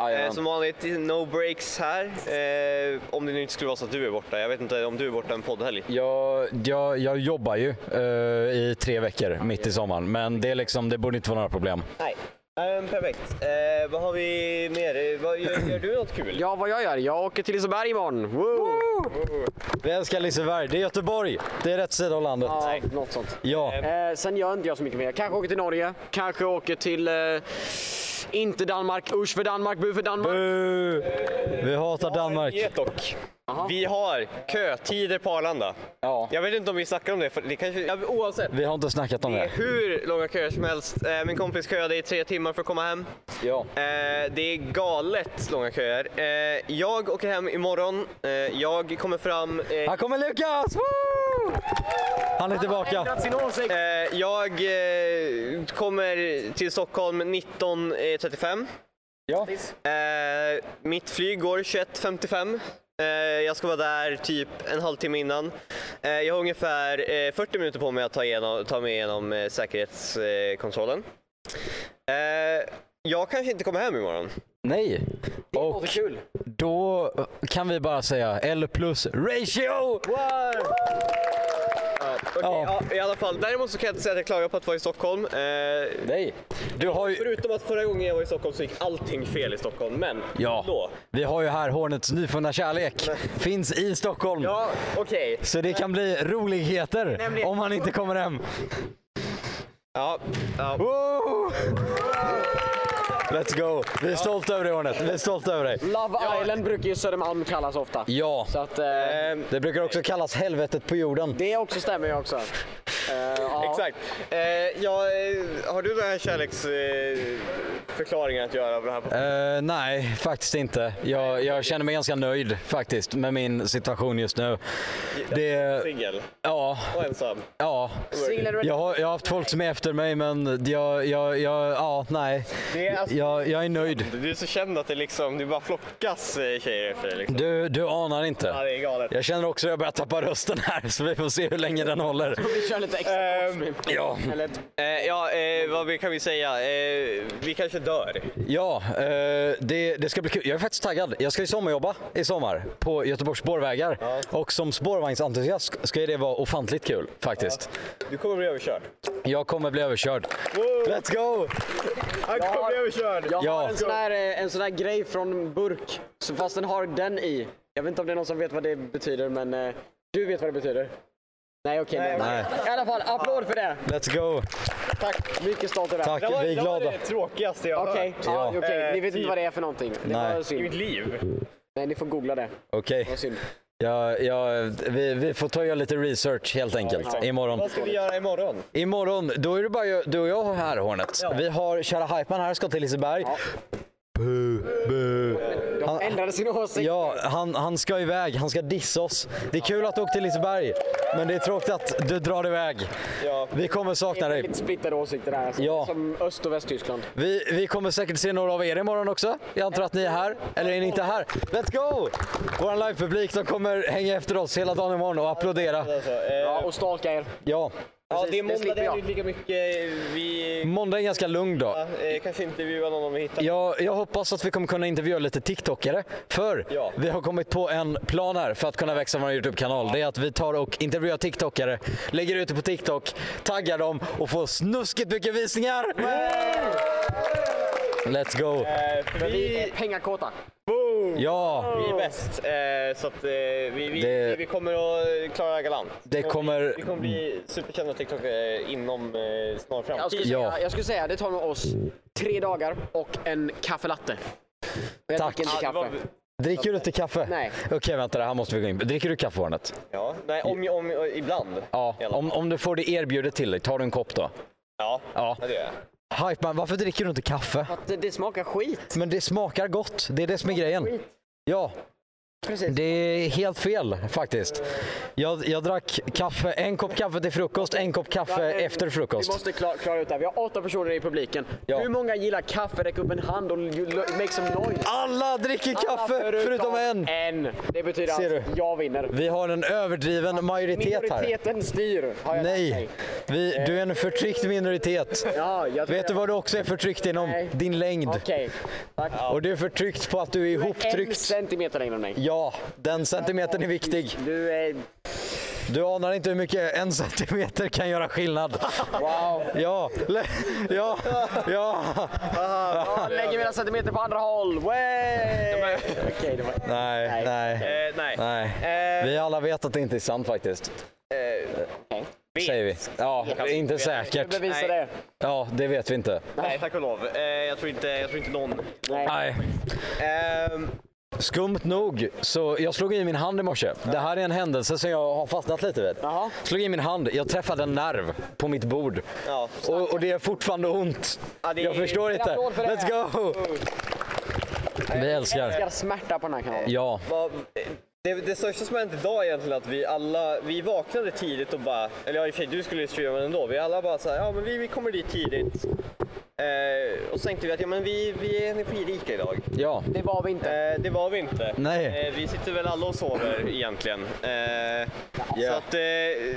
B: Jajamän.
C: Eh, som vanligt, no breaks här. Eh, om det nu inte skulle vara så att du är borta. Jag vet inte om du är borta en poddhelg.
A: Jag, jag, jag jobbar ju eh, i tre veckor mitt i sommaren, men det, är liksom, det borde inte vara några problem.
C: Nej. Eh, perfekt. Eh, vad har vi mer? Eh, Vad, gör, gör du något kul?
B: Ja, vad jag gör? Jag åker till Liseberg imorgon. Woo!
A: Vi älskar Liseberg, det är Göteborg, det är rätt sida av landet.
B: Ja, något sånt.
A: Ja.
B: Eh, sen gör inte jag så mycket mer. Kanske åker till Norge, kanske åker till... Eh, inte Danmark, usch för Danmark, bu för Danmark.
A: Uh, vi hatar Danmark.
C: Nyhet dock. Vi har kötider på Arlanda.
B: Ja.
C: Jag vet inte om vi snackar om det. För det kanske... ja, oavsett.
A: Vi har inte snackat om
C: Det är
A: det.
C: hur långa köer som helst. Eh, Min kompis köade i tre timmar för att komma hem.
B: Ja.
C: Eh, Det är galet långa köer. Eh, Jag åker hem imorgon. Eh, Jag kommer fram. eh,
A: Här kommer Lukas! Woo! Han är tillbaka.
B: Sin åsikt.
C: eh, Jag eh, kommer till Stockholm 19.35.
A: Ja.
C: Eh, Mitt flyg går 21.55. Eh, Jag ska vara där typ en halvtimme innan. Eh, Jag har ungefär eh, 40 minuter på mig att ta, igenom, ta mig igenom eh, säkerhetskontrollen. Eh, Jag kanske inte kommer hem imorgon.
A: Nej. Och
B: Kul.
A: då kan vi bara säga L plus ratio!
C: Okej,
A: Ja.
C: ja. I alla fall, däremot så kan jag inte säga att jag klagar på att vara i Stockholm. Eh,
A: Nej. Du har ju...
C: förutom att förra gången jag var i Stockholm så gick allting fel i Stockholm, men
A: Ja,
C: då.
A: vi har ju här Hornets nyfunna kärlek. Finns i Stockholm.
C: Ja, okej.
A: Så det kan bli roligheter om han inte kommer hem.
C: Ja, ja.
A: Woo! Let's go! Vi är stolta över dig Hornet. Vi är stolta över dig.
B: Love Island brukar ju Södermalm kallas ofta.
A: Ja,
B: Så att, eh,
C: Ehm,
A: det brukar också kallas helvetet på jorden.
B: det också stämmer ju också. Eh, ja.
C: Exakt. Eh, ja, eh, har du den här kärleksförklaringen att göra? av Det här på?
A: Eh, nej, faktiskt inte. Jag, jag känner mig ganska nöjd faktiskt med min situation just nu. Det,
C: Singel
A: ja,
C: och ensam.
A: ja.
B: Singlar du-
A: Jag har, jag har haft folk som är efter mig men jag, jag, jag ja, nej.
C: Det är alltså-
A: Jag, jag är nöjd.
C: Du är så känd att det liksom, du bara flockas eh, tjejer efter dig. Liksom.
A: Du, du anar
C: Ja,
A: inte.
C: det är galet.
A: Jag känner också att jag börjar tappa rösten här så vi får se hur länge den håller.
B: Vi kör lite extra
A: Ehm,
B: kortfilm.
A: Ja,
B: Eller
C: Eh, ja, eh, vad vi- kan vi säga? Eh, vi kanske dör.
A: ja eh, det, det ska bli kul. Jag är faktiskt taggad. Jag ska ju sommarjobba i sommar på Göteborgs spårvägar. Och som spårvagnsentusiast ska ju det vara ofantligt kul faktiskt.
C: Du kommer bli överkörd.
A: Jag kommer bli överkörd. Let's go!
C: Han kommer bli överkörd!
B: Jag har
A: Ja.
B: en, sån här, eh, en sån här grej från burk, så fast den har den i. Jag vet inte om det är någon som vet vad det betyder, men eh, du vet vad det betyder. Nej okej, nej.
A: Nej.
B: I alla fall, applåd för det.
A: Let's go!
B: Mycket stolt över det.
A: Tack, vi är
C: Det var
A: glada.
C: det tråkigaste jag har
B: Okej,
C: hört
B: ja.
A: Ja.
B: okej. ni
C: Eh,
B: vet inte
C: typ.
B: vad det är för någonting. Det
A: Nej.
B: var
C: i
B: synd.
C: mitt liv.
B: Nej, ni får googla det.
A: Okej,
B: Vad synd.
A: ja, ja, vi, vi får ta och göra lite research helt enkelt imorgon.
C: Vad ska vi göra imorgon?
A: Imorgon, då är det bara jag- du och jag här Hornet. Vi har kära Hypeman här, ska till Liseberg. Bu, bu.
B: De ändrade sin åsikt.
A: Ja, han, han ska iväg, han ska dissa oss. Det är kul att du åkte till Liseberg, men det är tråkigt att du drar iväg.
C: Ja.
A: Vi kommer sakna dig.
B: Lite splittrade åsikter där. Alltså.
A: Ja. Eh.
B: Som Öst och Västtyskland.
A: Vi, vi kommer säkert se några av er imorgon också. Jag antar att ni är här, eller är ni inte här? Let's go! Vår livepublik, de kommer hänga efter oss hela dagen imorgon och applådera.
C: Alltså, eh,
B: Ja, och stalka er.
A: Ja,
C: ja, det
B: precis, det
C: är måndag,
B: slipper
C: det är
B: jag.
C: inte lika mycket. Vi
A: måndag är en ganska lugn dag.
C: eh, kanske intervjuar någon om vi hittar.
A: Jag, jag hoppas att vi kommer kunna intervjua lite TikTokare. För
C: Ja.
A: vi har kommit på en plan här för att kunna växa vår YouTube-kanal. Det är att vi tar och intervjuar TikTokare, lägger ut det på TikTok, taggar dem och får snuskigt mycket visningar! Let's go!
C: Eh, för
B: Vi
C: vi,
B: är pengakåta.
A: Ja,
C: vi är bäst, eh, så att eh, vi, vi,
A: Det-
C: vi kommer att klara galant.
A: det
C: Vi
A: kommer...
C: kommer bli superkända TikTokare inom eh, snar
B: Jag
C: framtid.
B: skulle,
A: Ja.
B: säga, jag skulle säga det tar nog oss tre dagar och en kaffelatte. Och jag
A: Tack.
B: dricker inte
C: Ja, det
B: kaffe.
C: var-
A: Dricker du inte kaffe?
B: Nej.
A: Okej, vänta, det här måste vi gå in på. Dricker du kaffe, Hornet?
C: Ja, nej, om, om, ibland.
A: Ja,
C: I alla
A: om, om du får det erbjudet till dig, tar du en kopp då?
C: Ja,
A: Ja.
C: det gör jag.
A: Hypeman, varför dricker du inte kaffe?
B: Att det, det eh, smakar skit.
A: Men det smakar gott, det är det som är grejen. Ja,
C: Precis.
A: Det är helt fel faktiskt. Jag, jag drack kaffe, en kopp kaffe till frukost, en kopp kaffe efter
B: eh, Vi
A: frukost.
B: måste klara, klara ut det här. Vi har åtta personer i publiken.
A: Ja.
B: Hur många gillar kaffe? Räck upp en hand och lo- make some noise.
A: Alla dricker
B: Alla
A: kaffe förutom en!
B: En. Det betyder
A: Ser
B: att
A: du?
B: jag vinner.
A: Vi har en överdriven majoritet här.
B: Minoriteten styr, har jag lärt mig.
A: Nej, vi, du är en förtryckt minoritet.
B: Ja, jag
A: Vet du vad du också är förtryckt inom?
B: Nej.
A: Din längd.
B: Okej, tack.
A: Och du är förtryckt på att du är
B: En
A: ihoptryckt.
B: centimeter längre än mig.
A: Ja, den centimetern är viktig.
B: Du är...
A: Du anar inte hur mycket en centimeter kan göra skillnad.
B: Wow.
A: Ja, le- ja, ja.
B: Jag lägger mina centimeter på andra håll. Way! Okej, det var...
A: Nej, nej,
H: Eh, nej.
A: nej.
H: Eh,
A: Vi alla vet att det inte är sant faktiskt.
H: vet.
A: Säger vi. Ja, inte säkert.
B: Bevisa
H: Nej.
B: det.
A: Ja, det vet vi inte.
H: Nej, tack och lov. Eh, jag, tror inte, jag tror inte någon...
A: Nej.
H: Ehm,
A: Skumt nog, så jag slog i min hand i morse. Det här är en händelse som jag har fastnat lite vid.
B: Jaha.
A: Slog i min hand, jag träffade en nerv på mitt bord.
H: ja.
A: Och, och det är fortfarande ont.
H: Ja, det är-
A: Jag förstår inte.
B: applåd för det.
A: Let's go! Vi
B: Älskar
A: älskar.
B: smärta på den här kanalen.
A: Ja,
H: Vad- Det, det största som hänt idag är egentligen att vi alla, vi vaknade tidigt och bara, eller ja i och för sig du skulle ju streama men ändå, vi alla bara såhär, ja men vi, vi kommer dit tidigt. Eh, och så tänkte vi att ja men vi, vi är energirika idag.
A: ja.
B: Det var vi inte.
H: Eh, det var vi inte.
A: Nej.
H: Eh, vi sitter väl alla och sover egentligen. Eh, Så att, eh, i-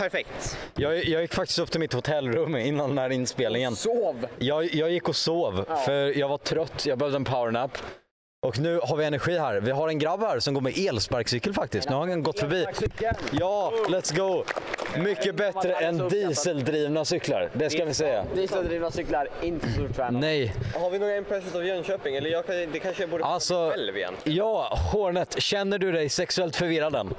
H: perfekt.
A: Jag, jag gick faktiskt upp till mitt hotellrum innan den här inspelningen.
B: Sov!
A: Jag, jag gick och sov för jag var trött, jag behövde en powernap. Och nu har vi energi här. Vi har en grabb här som går med elsparkcykel faktiskt. Nu har han gått förbi. Ja, let's go! Mycket bättre än dieseldrivna cyklar, det ska vi säga.
B: Dieseldrivna cyklar, inte så stort fan.
A: Nej,
H: Har vi några impressions av Jönköping? Eller jag, kan- det kanske jag borde
A: alltså...
H: själv egentligen?
A: Ja, Hornet, känner du dig sexuellt förvirrad än?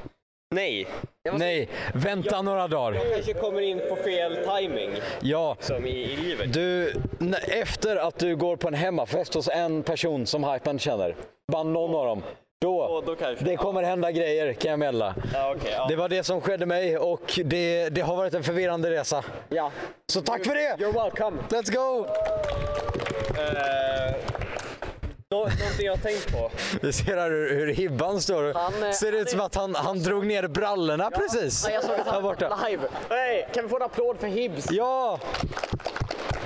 H: Nej.
A: Nej, vänta några dagar.
H: Jag kanske kommer in på fel timing
A: Ja,
H: som i, i livet.
A: Du, n- efter att du går på en hemmafest hos en person som hypen känner, bara någon av dem, då,
H: Och då kanske.
A: det kommer hända grejer kan jag meddela.
H: Ja, okej, ja.
A: Det var det som skedde mig och det, det har varit en förvirrande resa.
B: Ja.
A: Så tack för det!
B: You're welcome.
A: Let's go!
H: Eh, nå- någonting jag har tänkt på.
A: Vi ser här hur, hur Hibban står och
B: Han, eh,
A: ser
B: han
A: ut som att han, han drog ner brallorna precis.
B: Nej, jag såg att
A: Här
B: han
A: borta.
B: var live. Hey, kan vi få en applåd för Hibs?
A: Ja!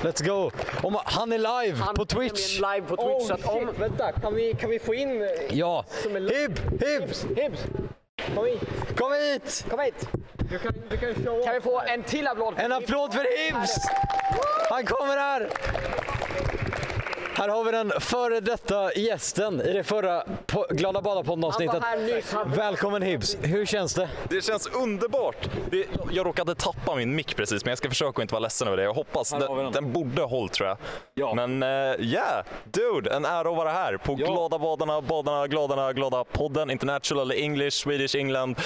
A: Let's go! Om, han är live
B: Han
A: på
B: är
A: Twitch!
B: nämligen Live på
A: Oh,
B: Twitch. så att om...
H: vänta, kan vi, kan vi få in... eh,
A: Ja!
H: Som är live.
A: Hib! Hib!
B: Hibs, kom hit.
A: Kom hit!
B: Kom hit.
H: Du kan, du kan showa.
B: Kan vi få en till applåd? för
A: En
B: Hibs?
A: applåd för Hibs! Han kommer här! Här har vi den före detta gästen i det förra po- Glada
B: Han var
A: Badapodden-avsnittet.
B: här nyss. Han...
A: Välkommen Hibs! Hur känns det?
D: Det känns underbart! Det, jag råkade tappa min mick precis, men jag ska försöka att inte vara ledsen över det. Jag hoppas
A: har vi den.
D: den, den borde ha hållit tror jag. Men eh, yeah, dude, en ära att vara här på Glada badarna, badarna, gladarna, glada podden, International English, Swedish England,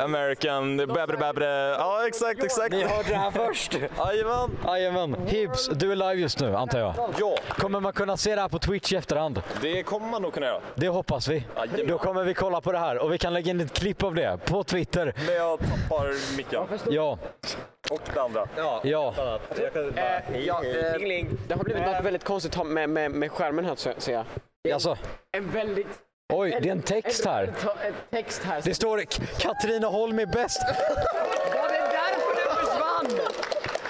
D: American, bäbre, bäbre. Ja, exakt, exakt.
A: Ni hörde det här först!
D: Jajamän.
A: Jajamän! Hibs, du är live just nu antar jag.
D: Ja,
A: Kommer man kunna se det här på Twitch i efterhand?
D: det kommer man nog kunna göra.
A: Det hoppas vi.
D: Jajamän.
A: Då kommer vi kolla på det här och vi kan lägga in ett klipp av det på Twitter.
D: Men jag tappar micken
A: Ja,
D: och det andra.
A: ja.
H: Jag kan bara...
B: Eh, ja, eh,
H: Tingling.
B: det har blivit något väldigt konstigt med, med, med skärmen här så- ser jag.
A: Alltså,
B: En väldigt...
A: oj, det är en text här.
B: Ta- En text här.
A: Det står K- Katrineholm är bäst.
B: Var det därför den försvann?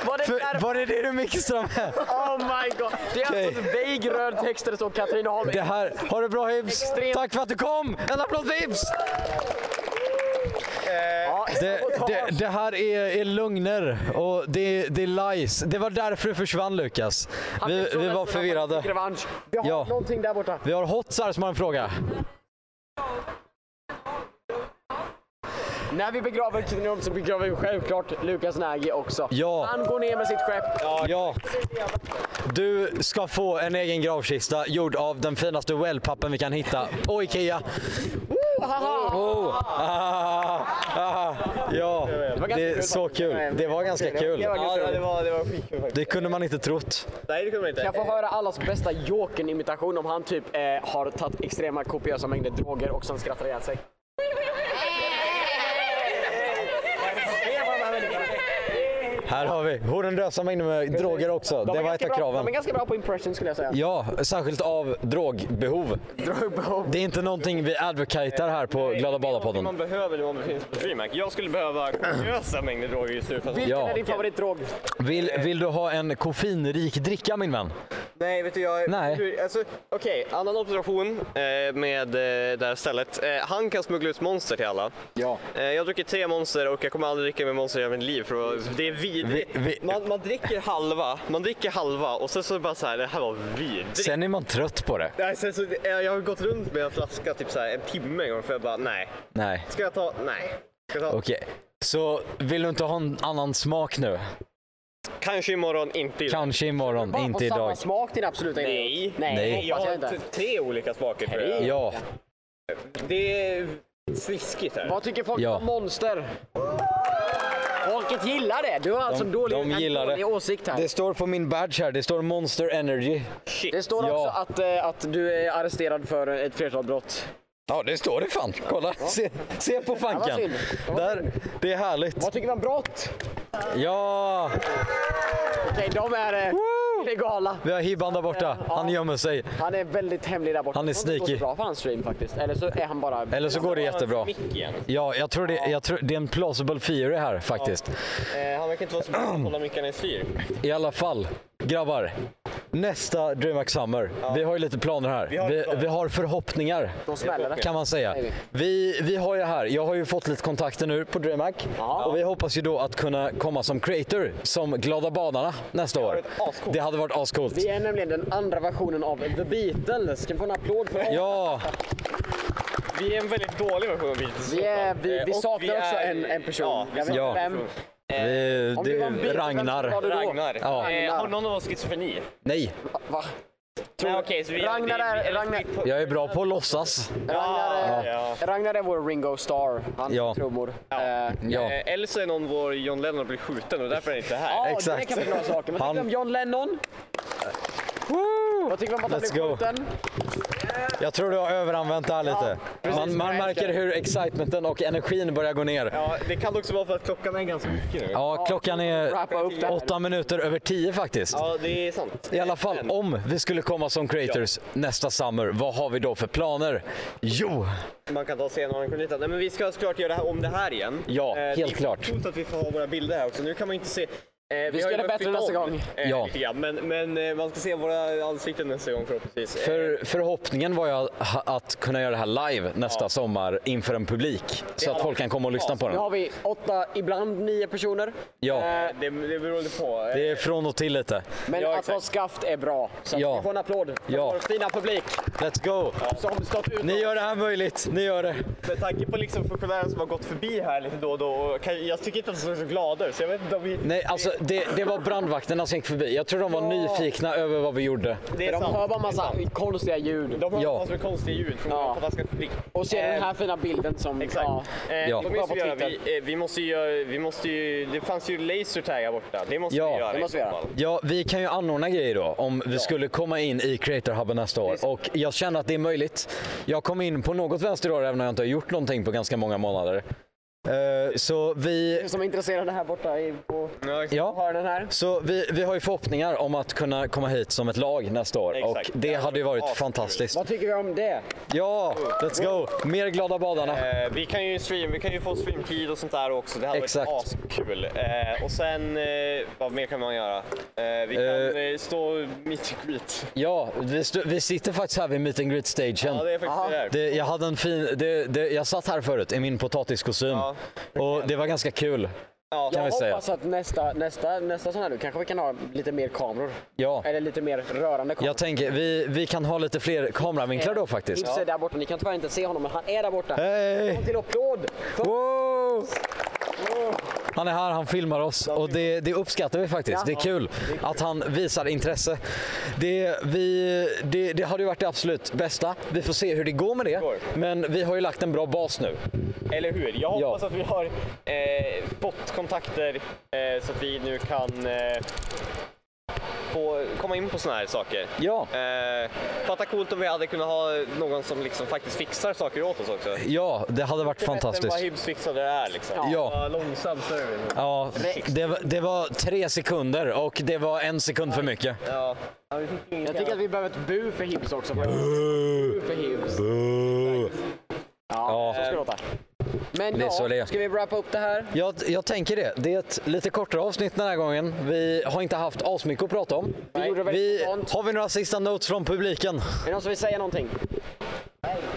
B: Var det
A: För,
B: därför?
A: var det det du mixtrade med?
B: Oh my god. Det är alltså en vague röd text där det står Katrineholm.
A: Det här, ha det bra Hibs!
B: Extremt.
A: Tack för att du kom! En applåd för Hibs!
B: Eh, Ja,
A: Det, det, det här är, är lögner och det, det är lies. Det var därför du försvann Lukas.
B: han
A: Vi,
B: fick så
A: vi
B: rätt
A: var
B: för att han
A: förvirrade.
B: fick Revansch. Vi har
A: Ja.
B: någonting där borta.
A: Vi har Hotsar som har en fråga.
B: När vi begraver Katrineholm så begraver vi självklart Lukas Nagy också.
A: Ja.
B: Han går ner med sitt skepp.
A: Ja. Du ska få en egen gravkista gjord av den finaste wellpappen vi kan hitta på Ikea. Oh. Ah, ah, ja, det är så kul. Det var ganska kul.
B: Det var ganska
H: Ja,
B: roligt.
H: det var, det var skitkul faktiskt.
A: Det kunde man inte trott.
H: Nej, det kunde man inte.
B: Jag får höra allas bästa Jokern-imitation om han typ eh, har tagit extrema kopiösa mängder droger och sen skrattar ihjäl sig.
A: Här har vi. Horen drösar mängder med droger också. Det var ett av kraven.
B: De är ganska bra på impression skulle jag säga.
A: Ja, särskilt av drogbehov. Det är inte någonting vi advocatar här på Glada Badar-podden.
H: Man behöver det om det finns på DreamHack. Jag skulle behöva kopiösa mängder droger just nu. Fast...
B: Vilken
A: Ja.
B: är din favoritdrog?
A: Vill, vill du ha en koffeinrik dricka min vän?
H: Nej, vet du jag...
A: Nej.
H: hur- Alltså,
C: Okej, annan observation eh, med eh, det här stället. Eh, han kan smuggla ut monster till alla.
B: Ja.
C: Eh, jag har druckit tre monster och jag kommer aldrig dricka mer monster i hela mitt liv för att- det är vidrigt.
A: Vi- vi-
C: Man, man dricker halva, man dricker halva och sen så är det bara så här, det här var vidrigt.
A: Sen är man trött på det.
C: Nej, sen så, eh, jag har gått runt med en flaska typ så här, en timme en gång för jag bara nej.
A: Nej,
C: Ska jag ta? Nej. Ska jag ta?
A: okej. Så vill du inte ha en annan smak nu?
C: Kanske imorgon, inte idag.
A: Kanske imorgon,
B: Bara
A: inte
B: på samma
A: idag.
B: smak din absoluta idé.
C: Nej.
B: Nej,
A: Nej.
B: hoppas jag
C: T-
B: inte.
C: Tre olika smaker tror jag.
A: Ja,
C: Det är sliskigt här.
B: Vad tycker folk
A: Ja.
B: om monster? Folket gillar det. Du har alltså
A: De-
B: dålig,
A: de
B: en
A: gillar det.
B: dålig åsikt här.
A: det står på min badge här. Det står Monster Energy.
B: Det står
A: Ja.
B: också att, eh, att du är arresterad för ett flertal brott.
A: Ja, det står det fan. Kolla, se, se på
B: Ja, vad
A: fanken.
B: synd. Det var
A: Där, det är härligt.
B: Vad tycker du om brott?
A: Ja,
B: Okej, de är eh, legala.
A: vi har Hibban där borta. Han gömmer sig.
B: Han är väldigt hemlig där borta.
A: Han är
B: Det går inte så
A: sneaky.
B: bra för hans stream faktiskt. Eller så är han bara...
A: Eller så går det jättebra. Ja, jag tror det, jag tror, det är en plausible theory här faktiskt.
H: eh, han verkar inte vara så bra på att hålla mickarna i styr.
A: I alla fall, grabbar. Nästa DreamHack Summer. Vi har ju lite planer här. Vi har, vi, har förhoppningar.
B: De smäller det.
A: Kan man säga.
B: Nej,
A: Vi, vi har ju här, jag har ju fått lite kontakter nu på DreamHack. Och vi hoppas ju då att kunna komma som creator, som Glada Badarna nästa år. Det hade varit ascoolt.
B: Vi är nämligen den andra versionen av The Beatles. Kan vi få en applåd för det?
A: Ja,
H: Vi är en väldigt dålig version av Beatles. Eh,
B: Vi, är, vi, vi
H: Och
B: saknar
H: vi
B: också
H: är-
B: en, en person.
H: Ja,
B: jag vet
A: Ja.
B: inte vem.
A: vi,
B: Eh, Om du
A: det
B: var en Beatles,
A: är
B: vem var
A: Ragnar.
B: du då?
H: Ragnar.
A: Ja.
H: Eh, har någon av oss schizofreni?
A: Nej,
B: Va?
H: Nej, okej, så vi-
B: Ragnar är, Ragnar,
A: jag är bra på att låtsas.
B: Ragnar,
H: Ja.
B: är, Ragnar är vår Ringo Starr. Han
A: Ja.
B: ja. trummor. Eh,
A: Ja.
H: Eh, Eller så är någon vår John Lennon och blir skjuten och därför är han inte här.
B: Ja, det
A: Exakt.
B: kan vi glada saker. Vad tycker
A: Han- Eh,
B: du om John Lennon? Vad tycker du om att han
A: Let's
B: blev
A: go.
B: skjuten?
A: Jag tror du har överanvänt det här lite. man, man märker hur excitmenten och energin börjar gå ner. Ja,
H: Ja, det kan också vara för att klockan är ganska mycket nu.
A: klockan är
B: Rappa upp det här.
A: åtta minuter över tio faktiskt.
H: Ja, det är sant.
A: I alla fall om vi skulle komma som creators nästa summer, vad har vi då för planer? Jo,
H: Man kan ta senare en kolonita. Nej men vi ska såklart göra det här, om det här igen.
A: Ja,
H: Eh,
A: helt klart.
H: Det är coolt att vi får ha våra bilder här också. Nu kan man ju inte se. eh, vi
B: ska
H: har ju börjat
B: göra bättre
H: flytta
B: nästa
H: om,
B: gång.
H: eh,
A: Ja.
H: lite grann, Men, men eh, man ska se våra ansikten nästa gång förhoppningsvis. Eh,
A: för, förhoppningen var ju att- att kunna göra det här live nästa sommar inför en publik. Så att folk kan komma och lyssna på
B: Nu
A: den.
B: har vi åtta, ibland nio personer.
A: Ja,
B: Eh,
H: det, det beror på. Eh,
A: det är från och till lite.
B: Men
H: Ja,
B: att
H: exakt.
B: vara skaft är bra. Så att
A: Ja.
B: vi får en applåd för
A: Ja.
B: vår fina publik
A: Let's go!
B: som stått ut.
A: Ni gör det här möjligt, ni gör det.
H: Med tanke på liksom funktionären som har gått förbi här lite då och då. Och kan, jag tycker inte att de såg så glada ut. Så jag vet inte om vi...
A: Nej, alltså det, det var brandvakterna som gick förbi. Jag tror de var nyfikna över vad vi gjorde.
H: Det
B: För
H: är
B: de
H: sant.
B: hör bara massa konstiga ljud.
H: De har
A: Ja.
H: ja. massor med konstiga ljud från
B: Ja.
H: vår fantastiska publik.
B: Och ser den här fina bilden som...
H: Eh, Exakt.
B: Ja.
H: Eh,
A: Ja.
H: vad mer ska vi,
B: Kolla
H: göra?
B: på Twitter.
H: Vi, eh, vi måste ju göra, vi måste ju, det fanns ju lasertag här borta. Det måste
A: Ja,
H: vi göra.
B: det måste vi
H: i så
B: göra.
H: fall.
A: Ja, vi kan ju anordna grejer då om vi skulle komma in i Creator Hubben nästa år. Och jag känner att det är möjligt. Jag kom in på något vänster i år även om jag inte har gjort någonting på ganska många månader. Eh, så vi,
B: Du som är intresserad här borta i, på
A: ja,
B: hörnen här.
A: så vi, vi har ju förhoppningar om att kunna komma hit som ett lag nästa år.
H: Exakt.
A: Och det hade ju varit fantastiskt.
B: Vad tycker vi om det?
A: Ja, let's go! Mer glada badarna.
H: Eh, vi kan ju stream, vi kan ju få streamtid och sånt där också. Det hade
A: Exakt.
H: varit askul. Eh, och sen, eh, vad mer kan man göra? Eh, vi kan
A: Eh.
H: eh, stå meet and greet.
A: Ja, vi, stö- vi sitter faktiskt här vid meet and greet-stagen.
H: Ja, det är faktiskt det där.
A: Det, jag hade en fin, det, det, jag satt här förut i min potatiskostym
H: Ja.
A: och det var ganska kul.
H: Ja.
A: Kan vi
B: Jag
A: säga.
B: hoppas att nästa, nästa, nästa sån här nu kanske vi kan ha lite mer kameror.
A: Ja.
B: Eller lite mer rörande kameror.
A: Jag tänker, vi, vi kan ha lite fler kameravinklar då faktiskt.
B: Ibs är där borta, ni kan tyvärr inte se honom men han är där borta.
A: Hej!
B: Kom till applåd! För-
A: Wow! Han är här, han filmar oss och det, det uppskattar vi faktiskt. Det är kul att han visar intresse. Det, vi, det, det hade ju varit det absolut bästa. Vi får se hur det går med det. Men vi har ju lagt en bra bas nu.
H: Eller hur? Jag
A: Ja.
H: hoppas att vi har eh, fått kontakter eh, så att vi nu kan eh, få komma in på sådana här saker.
A: Ja.
H: Eh, fatta coolt om vi hade kunnat ha någon som liksom faktiskt fixar saker åt oss också.
A: Ja, det hade varit
H: Än vad
A: fantastiskt.
H: Hibs fixade det här liksom.
A: Ja.
H: Vad Långsam service.
A: Ja, det, var- det var tre sekunder och det var en sekund för mycket.
H: Ja.
B: Jag tycker att vi behöver ett bu för Hibs också. för Hibs.
A: Ja.
B: Så ska det låta. Men
A: Det är så det är.
B: ja, ska vi wrappa upp det här?
A: Jag, jag tänker det. Det är ett lite kortare avsnitt den här gången. Vi har inte haft asmycket att prata om.
B: Vi gjorde det väldigt
A: Vi,
B: spontant.
A: har vi några sista notes från publiken?
B: Är det någon som vill säga någonting?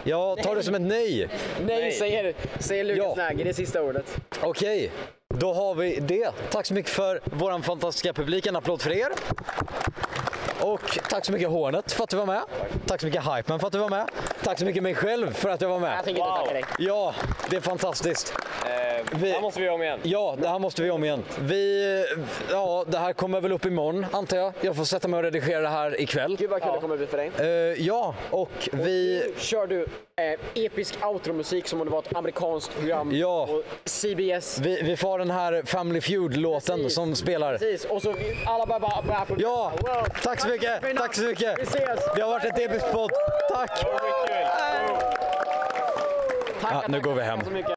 A: Jag tar det som ett nej.
B: Nej, säger, säger Lukas
A: Ja.
B: Näger, det är sista ordet.
A: Okej, då har vi det. Tack så mycket för vår fantastiska publik. En applåd för er. Och tack så mycket Hornet för att du var med. Tack så mycket Hypeman för att du var med. Tack så mycket mig själv för att jag var
B: Jag
A: med.
B: tänker inte tacka dig.
A: Ja, det är fantastiskt. Vi-
H: Det här måste vi göra om igen.
A: Ja, det här måste vi om igen. Vi, ja, det här kommer väl upp imorgon antar jag. Jag får sätta mig och redigera det här ikväll.
B: Gud vad kul det kommer bli för dig.
A: Eh, ja, och vi...
B: Nu kör du eh, episk outro-musik som om det var ett amerikanskt program
A: Ja.
B: på CBS.
A: Vi, vi får den här Family Feud-låten
B: Precis.
A: som spelar.
B: Precis, och så alla bara bara bara applåderar.
A: Ja,
B: Wow.
A: tack så mycket, tack så mycket.
B: Vi ses!
A: Det har varit ett episkt podd. Tack!
B: Tack,
A: nu
B: tack,
A: går vi
B: tack
A: hem.
B: så mycket.